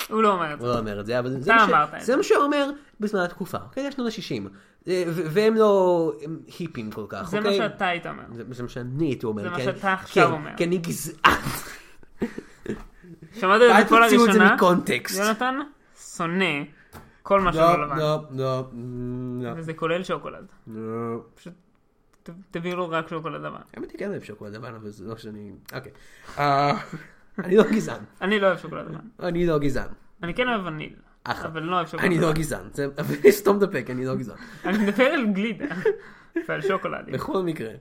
Speaker 2: הוא לא אומר את זה.
Speaker 1: הוא לא אומר את זה, אבל זה,
Speaker 2: אתה
Speaker 1: מה,
Speaker 2: אמרת את
Speaker 1: ש...
Speaker 2: זה.
Speaker 1: זה מה שהוא אומר בזמן התקופה, אוקיי? יש שנות ה-60. והם לא הם היפים כל כך,
Speaker 2: זה מה
Speaker 1: אוקיי?
Speaker 2: שאתה היית אומר.
Speaker 1: זה זה מה שאני הייתי אומר.
Speaker 2: זה מה
Speaker 1: כן,
Speaker 2: שאתה עכשיו
Speaker 1: כן,
Speaker 2: אומר.
Speaker 1: כי אני גזען.
Speaker 2: שמעת את
Speaker 1: אל
Speaker 2: זה כל
Speaker 1: תוציאו את זה
Speaker 2: הראשונה? לא
Speaker 1: מקונטקסט.
Speaker 2: יונתן שונא כל מה
Speaker 1: לא,
Speaker 2: שלא לבן.
Speaker 1: לא, לא, לא,
Speaker 2: וזה כולל שוקולד.
Speaker 1: לא.
Speaker 2: פשוט ת- תביאו לו רק שוקולד לבן.
Speaker 1: האמת היא כן אוהב שוקולד לבן, אבל זה לא שאני... אוקיי. אה, אני לא גזען.
Speaker 2: אני לא אוהב שוקולד לבן.
Speaker 1: אני לא גזען.
Speaker 2: אני כן אוהב וניל.
Speaker 1: אחלה.
Speaker 2: אבל לא אוהב שוקולד
Speaker 1: אני
Speaker 2: לבן.
Speaker 1: לא גזען. זה- אבל סתום את הפה, כי אני לא נכון. גזען.
Speaker 2: אני מדבר על גלידה. ועל שוקולד.
Speaker 1: בכל מקרה,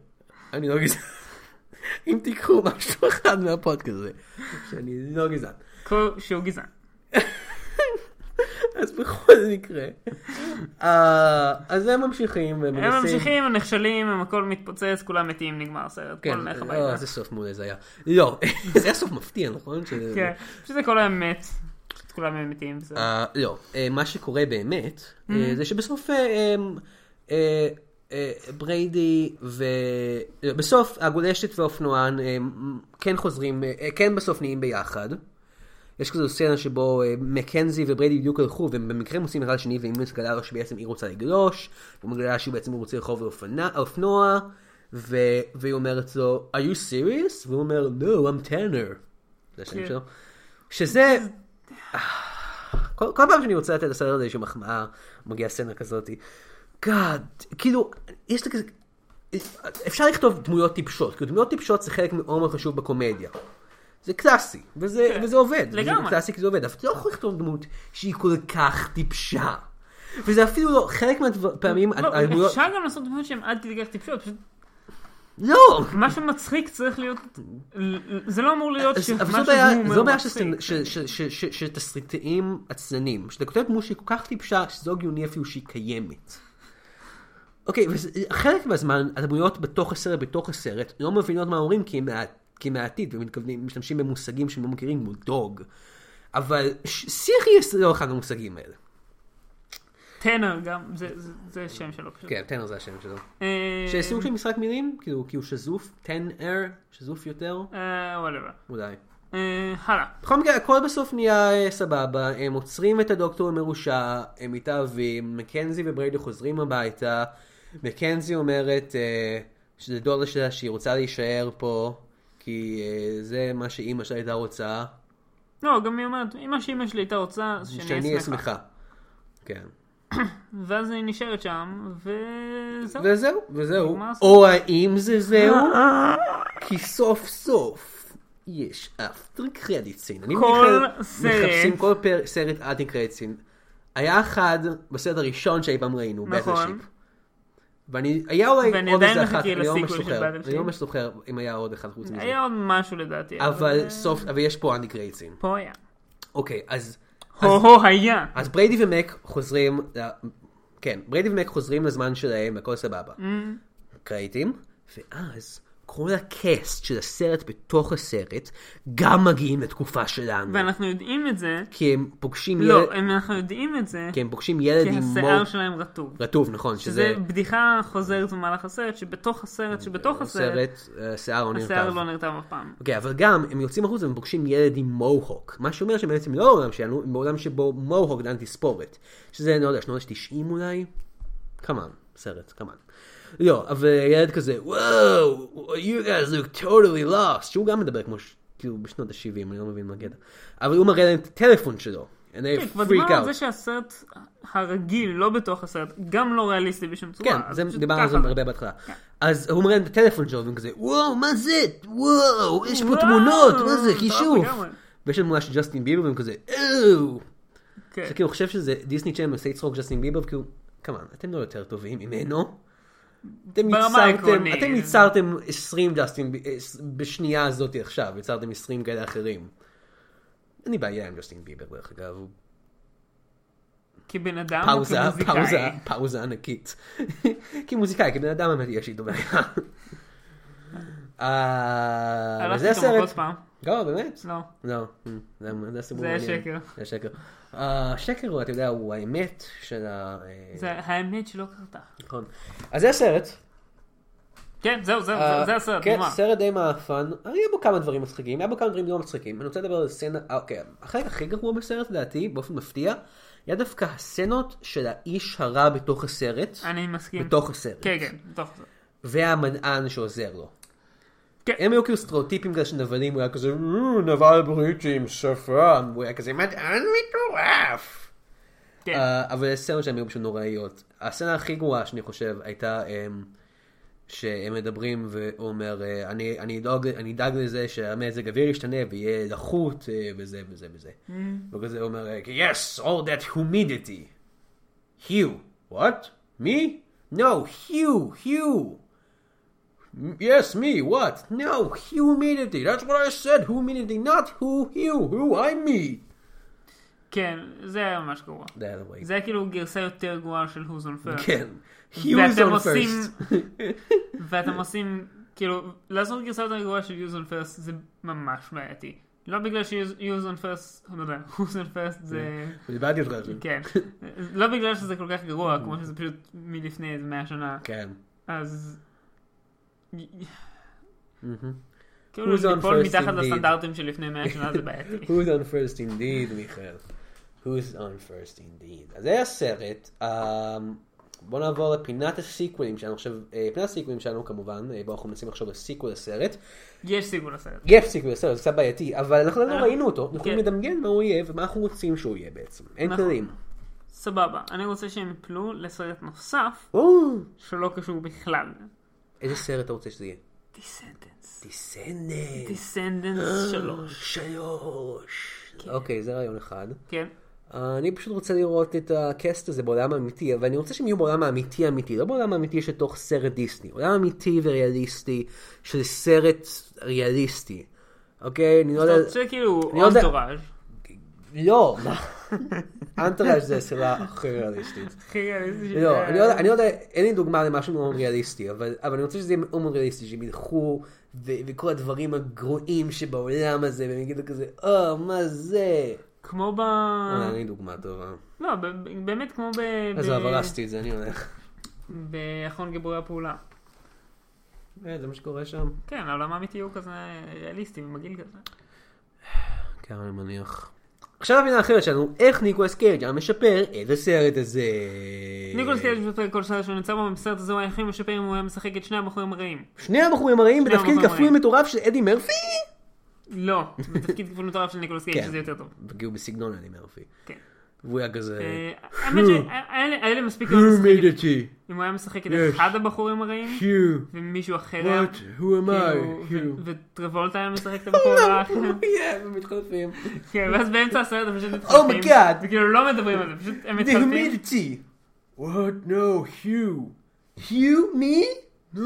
Speaker 1: אני לא גזען. אם תיקחו משהו אחד מהפודקאסט הזה, שאני לא גזען.
Speaker 2: כל- שהוא גזען.
Speaker 1: אז בכל מקרה, אה, אז הם ממשיכים ומנסים.
Speaker 2: הם ממשיכים, הם נכשלים, הם הכל מתפוצץ, כולם מתים, נגמר הסרט.
Speaker 1: כן,
Speaker 2: כל נלך
Speaker 1: אה,
Speaker 2: הביתה.
Speaker 1: זה סוף מעולה זה היה. לא, זה היה סוף מפתיע, נכון? ש-
Speaker 2: כן. פשוט זה כל היום מת. פשוט כולם הם מתים. וזהו.
Speaker 1: אה, לא, אה, מה שקורה באמת, אה, זה שבסוף אה, אה, אה, אה, בריידי ו... לא, בסוף הגולשת והאופנוען אה, כן חוזרים, אה, כן בסוף נהיים ביחד. יש כזו סצנה שבו אה, מקנזי ובריידי בדיוק הלכו, והם במקרה מוצאים אחד לשני, והיא מגלה לו שבעצם היא רוצה לגלוש, והוא מגלה שהוא בעצם רוצה לרחוב לאופנוע- האופנוע, ו... והיא אומרת לו, are you serious? והוא אומר, no, I'm Tanner. זה השם
Speaker 2: כן.
Speaker 1: שלו. שזה... כל, כל פעם שאני רוצה לתת לסרט הזה איזושהי מחמאה, מגיעה סצנה כזאת. גאד, כאילו, יש לי כזה... אפשר לכתוב דמויות טיפשות, כי דמויות טיפשות זה חלק מאוד מאוד חשוב בקומדיה. זה קלאסי, וזה,
Speaker 2: כן.
Speaker 1: וזה עובד.
Speaker 2: לגמרי.
Speaker 1: זה קלאסי כי זה עובד, אבל אתה לא יכול לכתוב דמות שהיא כל כך טיפשה. וזה אפילו לא, חלק מהפעמים,
Speaker 2: לא, אפשר גם לעשות דמויות שהן עד כדי כך טיפשות, פשוט
Speaker 1: לא!
Speaker 2: משהו מצחיק צריך להיות, זה לא אמור להיות
Speaker 1: אז-
Speaker 2: שמשהו
Speaker 1: אה, אבל זו בעיה-
Speaker 2: הוא
Speaker 1: זו
Speaker 2: אומר
Speaker 1: בעיה
Speaker 2: מצחיק. כן.
Speaker 1: של- של- של- של- של- של תסריטאים עצלנים, שאתה כותב דמות שהיא כל כך טיפשה, שזה לא הגיוני אפילו שהיא קיימת. אוקיי, וחלק מהזמן הדמויות בתוך הסרט, בתוך הסרט, לא מבינות מה אומרים, כי הם מה- כי מהעתיד, ומתכוונים, משתמשים במושגים שהם לא מכירים, כמו דוג. אבל ש- שיח היא לא אחד המושגים האלה.
Speaker 2: טנר גם, זה- זה- זה שם שלו פשוט.
Speaker 1: כן, טנר זה השם שלו.
Speaker 2: אה,
Speaker 1: שסוג של משחק מילים, כאילו, כי הוא שזוף, טנר, שזוף יותר,
Speaker 2: אה, וואלה.
Speaker 1: אולי.
Speaker 2: אה, הלאה.
Speaker 1: בכל מקרה, הכל בסוף נהיה אה, סבבה, הם עוצרים את הדוקטור המרושע, הם מתאהבים, מקנזי ובריידי חוזרים הביתה, מקנזי אומרת אה, שזה דודה שלה שהיא רוצה להישאר פה, כי אה, זה מה שאימא שלה הייתה רוצה,
Speaker 2: לא, גם היא אומרת, אמא שאמא שלי הייתה רוצה, אז
Speaker 1: שאני
Speaker 2: שאני
Speaker 1: אהיה
Speaker 2: אהיה שמחה.
Speaker 1: שמחה. כן.
Speaker 2: ואז היא נשארת שם, וזהו.
Speaker 1: וזהו, וזהו.
Speaker 2: נגמר הסיפור.
Speaker 1: או האם זה זהו? כי סוף סוף יש אפטר קרדיט סין. אני
Speaker 2: כל
Speaker 1: מיכאל,
Speaker 2: סרט.
Speaker 1: מחפשים כל פר- סרט אפטר קרדיט סין. היה אחד בסרט הראשון שאי פעם ראינו,
Speaker 2: נכון.
Speaker 1: באטלשיפ. ואני, היה אולי
Speaker 2: ואני
Speaker 1: עוד
Speaker 2: עדיין
Speaker 1: איזה אחת,
Speaker 2: מחכה
Speaker 1: אני לא ממש
Speaker 2: לסיקוול של
Speaker 1: זוכר,
Speaker 2: Battleship.
Speaker 1: אני לא ממש זוכר אם היה עוד אחד חוץ מזה.
Speaker 2: היה עוד משהו לדעתי.
Speaker 1: אבל סוף, אבל יש פה אנטי קרדיט סין.
Speaker 2: פה היה.
Speaker 1: אוקיי, אז... אז-
Speaker 2: הו-הו היה.
Speaker 1: אז בריידי ומק חוזרים, ל- כן, בריידי ומק חוזרים לזמן שלהם, הכל סבבה.
Speaker 2: Mm.
Speaker 1: קרדיטים, ואז כל הקאסט של הסרט בתוך הסרט, גם מגיעים לתקופה שלנו.
Speaker 2: ואנחנו יודעים את זה.
Speaker 1: כי הם פוגשים
Speaker 2: לא,
Speaker 1: ילד,
Speaker 2: הם- אנחנו יודעים את זה,
Speaker 1: כי הם פוגשים ילד
Speaker 2: כי
Speaker 1: כן, עם
Speaker 2: השיער
Speaker 1: מור
Speaker 2: שלהם רטוב.
Speaker 1: רטוב, נכון, שזה
Speaker 2: שזה בדיחה חוזרת במהלך הסרט, שבתוך הסרט, שבתוך הסרט,
Speaker 1: סרט, אה, שיער לא
Speaker 2: השיער
Speaker 1: נרטב.
Speaker 2: לא נרטב אף פעם.
Speaker 1: אוקיי, אבל גם הם יוצאים החוצה והם פוגשים ילד עם מוהוק. מה שאומר שהם בעצם לא בעולם שלנו, הם בעולם שבו מוהוק דן תספורת. שזה, אני לא יודע, שנות ה-90 אולי? כמובן, סרט, כמובן. לא, אבל ילד כזה, וואו, you guys look totally lost. שהוא גם מדבר כמו, ש- כאילו, בשנות ה-70, אני לא מבין מה הקטע. אבל הוא מראה להם את הטלפון שלו. And
Speaker 2: כן,
Speaker 1: they
Speaker 2: כבר
Speaker 1: freak
Speaker 2: דיברנו על זה
Speaker 1: out.
Speaker 2: שהסרט הרגיל, לא בתוך הסרט, גם לא ריאליסטי בשום צורה.
Speaker 1: כן,
Speaker 2: אז
Speaker 1: זה-
Speaker 2: פשוט
Speaker 1: דיברנו על זה
Speaker 2: ככה. כן.
Speaker 1: הרבה בהתחלה. אז הוא מראה להם את הטלפון שלו, והם כזה, וואו, מה זה? וואו, יש פה
Speaker 2: וואו,
Speaker 1: תמונות, מה זה,
Speaker 2: מטורף
Speaker 1: כישוף.
Speaker 2: לגמרי.
Speaker 1: ויש שם תמונה של ג'סטין ביבר, והם כזה, אוו.
Speaker 2: כן.
Speaker 1: אתה כאילו חושב שזה דיסני צ'אנל עושה לצחוק ג'סטין ביבר, כאילו, כמובן, אתם לא יותר טובים ממנו. אתם
Speaker 2: ברמה
Speaker 1: ייצרתם,
Speaker 2: העקרונית. כן.
Speaker 1: אתם ייצרתם 20 ג'סטין, ב- אה, בשנייה הזאת עכשיו, ייצרתם 20 כאלה אחרים. אין לי בעיה עם ג'סטין ביבר, דרך אגב, הוא
Speaker 2: כבן אדם או
Speaker 1: פאוזה,
Speaker 2: כמוזיקאי.
Speaker 1: פאוזה, פאוזה ענקית. כמוזיקאי, כבן אדם באמת יש לי איתו בעיה. אה,
Speaker 2: הלכתי
Speaker 1: וזה
Speaker 2: איתו
Speaker 1: הסרט.
Speaker 2: מכות פעם.
Speaker 1: לא, באמת?
Speaker 2: לא.
Speaker 1: לא, זה זה סיפור
Speaker 2: זה
Speaker 1: מעניין.
Speaker 2: שקר.
Speaker 1: זה שקר. השקר הוא, אתה יודע, הוא האמת של ה... אה,
Speaker 2: זה האמת שלא קרתה.
Speaker 1: נכון. אז זה הסרט.
Speaker 2: כן, זהו, זהו,
Speaker 1: אה,
Speaker 2: זה- זה הסרט,
Speaker 1: כן,
Speaker 2: נגמר.
Speaker 1: סרט די מעפן. היה בו כמה דברים מצחיקים, היה בו כמה דברים לא מצחיקים. אני רוצה לדבר על סצנה, אה, אוקיי, החלק הכי גרוע בסרט, לדעתי, באופן מפתיע, היה דווקא הסצנות של האיש הרע בתוך הסרט.
Speaker 2: אני מסכים.
Speaker 1: בתוך הסרט.
Speaker 2: כן, כן, בתוך הסרט.
Speaker 1: והמדען שעוזר לו.
Speaker 2: כן.
Speaker 1: הם היו כאילו סטריאוטיפים כזה של נבלים, הוא היה כזה "אה, נבל בריטי עם שפרן, הוא היה כזה מדען מטורף.
Speaker 2: כן.
Speaker 1: אה, אבל הסצנות שלהם היו פשוט נוראיות. הסצנה הכי גרועה שאני חושב הייתה אמ, שהם מדברים והוא אומר אה, אני אני אדאג- אני אדאג לזה שהמזג אוויר ישתנה ויהיה לחות אה, וזה וזה וזה. וכזה הוא אומר אה, yes all that humidity. Hugh. What? Me? No, Hugh, Hugh. "M- Yes, me. What? No, humidity. That's what I said. Humidity, not who, Hugh. Who, I'm me.
Speaker 2: כן, זה היה ממש גרוע.
Speaker 1: זה היה נוראי.
Speaker 2: זה היה כאילו גרסה יותר גרועה של Who's on First.
Speaker 1: כן. Hugh is
Speaker 2: ואתם
Speaker 1: on
Speaker 2: עושים-
Speaker 1: first.
Speaker 2: ואתם עושים, כאילו, לעשות גרסה יותר גרועה של Use on First זה ממש בעייתי. לא בגלל ש-Use on First, לא יודע, Who's on First זה...
Speaker 1: איבדתי אותך עכשיו.
Speaker 2: כן. לא בגלל שזה כל כך גרוע, כמו שזה פשוט מלפני איזה מאה שנה.
Speaker 1: כן.
Speaker 2: אז... כאילו,
Speaker 1: Who's on
Speaker 2: ליפול
Speaker 1: first
Speaker 2: מתחת
Speaker 1: indeed.
Speaker 2: לסטנדרטים של לפני מאה שנה זה בעייתי.
Speaker 1: Who's on first indeed, מיכאל? Who's on first indeed. אז זה הסרט. אמ, בואו נעבור לפינת הסיקוולים שלנו עכשיו. אה, פינת הסיקוולים שלנו כמובן, אה, בואו אנחנו מנסים לחשוב על סיקוול לסרט.
Speaker 2: יש סיכוי לסרט.
Speaker 1: יש סיכוי לסרט, זה קצת בעייתי, אבל אנחנו לא
Speaker 2: אה,
Speaker 1: ראינו אותו, אנחנו יכולים
Speaker 2: כן.
Speaker 1: לדמיין מה הוא יהיה ומה אנחנו רוצים שהוא יהיה בעצם. אין
Speaker 2: נכון.
Speaker 1: כללים.
Speaker 2: סבבה, אני רוצה שהם יפלו לסרט נוסף
Speaker 1: או,
Speaker 2: שלא קשור בכלל.
Speaker 1: איזה סרט אתה רוצה שזה יהיה?
Speaker 2: דיסנדנס.
Speaker 1: דיסנדנט.
Speaker 2: דיסנדנס 3.
Speaker 1: שלוש. אוקיי, זה רעיון אחד.
Speaker 2: כן.
Speaker 1: אה, אני פשוט רוצה לראות את הקאסט הזה בעולם האמיתי, אבל אני רוצה שהם יהיו בעולם האמיתי אמיתי, לא בעולם האמיתי שתוך סרט דיסני. עולם אמיתי וריאליסטי של סרט ריאליסטי. אוקיי? אני לא
Speaker 2: אתה
Speaker 1: יודע...
Speaker 2: רוצה כאילו
Speaker 1: אני לא יודע.
Speaker 2: אונטוראז'.
Speaker 1: לא, מה? אנטרש זה סדרה הכי ריאליסטית.
Speaker 2: הכי ריאליסטי
Speaker 1: לא,
Speaker 2: שזה-
Speaker 1: אני לא יודע- אני לא יודע, אין לי דוגמה למשהו מאוד ריאליסטי, אבל אבל אני רוצה שזה יהיה מאוד ריאליסטי, שהם ילכו ו- וכל הדברים הגרועים שבעולם הזה, והם יגידו כזה, אה, מה זה?
Speaker 2: כמו ב...
Speaker 1: אה, אין לי דוגמה טובה.
Speaker 2: לא, ב- באמת כמו ב...
Speaker 1: אז
Speaker 2: ב-
Speaker 1: הרסתי את זה, אני הולך.
Speaker 2: באחרון גיבורי הפעולה.
Speaker 1: אה, זה מה שקורה שם?
Speaker 2: כן, העולם האמיתי הוא כזה ריאליסטי ומגעיל כזה.
Speaker 1: אה. כן, אני מניח. עכשיו הפינה אחרת שלנו, איך ניקולס קייג' היה משפר את הסרט הזה.
Speaker 2: ניקולס קייג' משפר כל סרט שהוא נמצא בו, ובסרט הזה הוא היה הכי משפר אם הוא היה משחק את שני הבחורים הרעים.
Speaker 1: שני הבחורים הרעים
Speaker 2: שני
Speaker 1: בתפקיד
Speaker 2: הבחורים
Speaker 1: כפוי
Speaker 2: הרעים.
Speaker 1: מטורף של אדי מרפי?
Speaker 2: לא, זה תפקיד כפול מטורף של ניקולס קייג'
Speaker 1: כן.
Speaker 2: שזה יותר טוב.
Speaker 1: הגיעו בסגנון אדי מרפי.
Speaker 2: כן.
Speaker 1: והוא היה כזה...
Speaker 2: אה, לא, האמת שהיה לי- היה לי מספיק
Speaker 1: Who
Speaker 2: אם הוא משחק-
Speaker 1: made it she?
Speaker 2: אם הוא היה משחק את
Speaker 1: Yes.
Speaker 2: אחד הבחורים הרעים,
Speaker 1: Hugh.
Speaker 2: ומישהו אחר היה...
Speaker 1: What? Who am I?
Speaker 2: כאילו,
Speaker 1: Hugh.
Speaker 2: ו- וטרבולטה היה משחק את הבחור הרע האחר.
Speaker 1: כן, הם מתחלפים.
Speaker 2: כן, ואז באמצע הסרט הם פשוט
Speaker 1: Oh my God.
Speaker 2: וכאילו לא מדברים על זה, פשוט הם
Speaker 1: They
Speaker 2: מתחלפים.
Speaker 1: made it she. What? No, Hugh. Hugh? Me? No.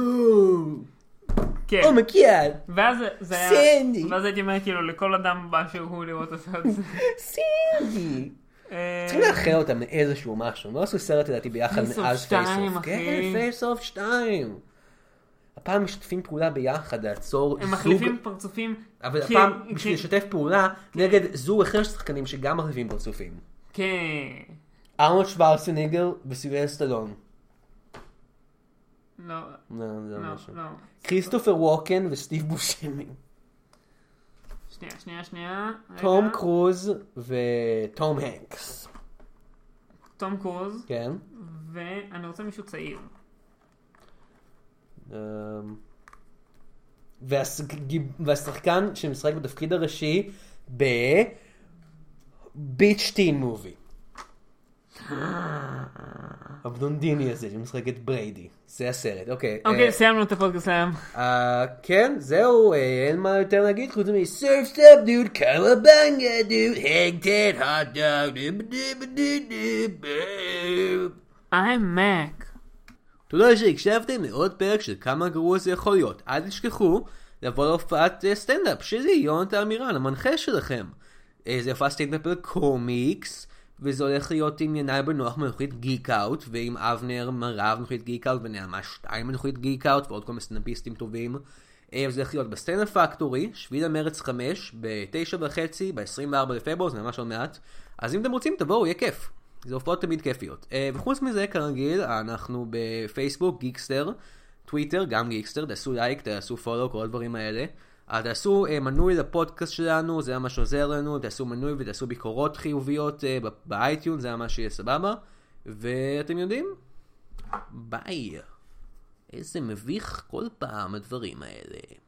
Speaker 2: כן.
Speaker 1: Oh my god.
Speaker 2: ואז זה היה...
Speaker 1: סנדי.
Speaker 2: ואז הייתי אומר כאילו לכל אדם באשר הוא לראות את הסרט הזה.
Speaker 1: סינדי.
Speaker 2: אה,
Speaker 1: צריכים לאחר אותם לאיזשהו משהו, הם לא עשו סרט לדעתי ביחד
Speaker 2: Face Off
Speaker 1: מאז
Speaker 2: שתיים,
Speaker 1: פייסוף.
Speaker 2: אחי.
Speaker 1: כן, פייסוף 2. הפעם משתפים פעולה ביחד, לעצור
Speaker 2: הם
Speaker 1: זוג,
Speaker 2: מחליפים פרצופים.
Speaker 1: אבל
Speaker 2: כי-
Speaker 1: הפעם
Speaker 2: כי-
Speaker 1: בשביל לשתף פעולה נגד זוג אחר של שחקנים שגם מחליפים פרצופים.
Speaker 2: כן.
Speaker 1: ארנולד שוורצניגר וסילבן סטלון.
Speaker 2: לא,
Speaker 1: לא, זה
Speaker 2: לא,
Speaker 1: משהו.
Speaker 2: לא. אוקיי.
Speaker 1: כריסטופר ווקן וסטיב בושמי.
Speaker 2: שנייה, שנייה, שנייה.
Speaker 1: תום
Speaker 2: רגע.
Speaker 1: קרוז וטום הנקס.
Speaker 2: תום קרוז,
Speaker 1: כן.
Speaker 2: ואני רוצה מישהו צעיר.
Speaker 1: אה. אמ, והשג- גיב- והשחקן שמשחק בתפקיד הראשי ב... ביץ' טין מובי. הבלונדיני הזה שמשחק את בריידי. זה הסרט, אוקיי. אה,
Speaker 2: אוקיי, סיימנו את הפודקאסט היום.
Speaker 1: אה, כן, זהו, אה, אין מה יותר להגיד חוץ מ- surf's up dude, קרבנגה dude, hang ten hot dog, דו דו דו דו דו.
Speaker 2: I'm Mac.
Speaker 1: תודה שהקשבתם לעוד פרק של כמה גרוע זה יכול להיות. אל תשכחו לבוא להופעת אה, סטנדאפ שלי, יונתן אמירן, המנחה שלכם. אה, זה הופעת סטנדאפ לקומיקס, וזה הולך להיות עם ינאי בנוח מנוחית גיק אאוט, ועם אבנר מרב מנוחית גיק אאוט, ונעמה שתיים מנוחית גיק אאוט, ועוד כל מיני סטנדאפיסטים טובים. אה, זה הולך להיות בסטנדאפ פקטורי, שביל המרץ 5, ב-9 וחצי, ב-24 לפברואר, זה ממש עוד מעט. אז אם אתם רוצים, תבואו, יהיה כיף. זה הופעות תמיד כיפיות. אה, וחוץ מזה, כרגיל, אנחנו בפייסבוק, גיקסטר, טוויטר, גם גיקסטר, תעשו לייק, תעשו פולו, כל הדברים האלה. אה, תעשו אה, מנוי לפודקאסט שלנו, זה ממש עוזר לנו, תעשו מנוי ותעשו ביקורות חיוביות אה, ב- באייטיון, זה ממש יהיה סבבה. ואתם יודעים? ביי. איזה מביך כל פעם הדברים האלה.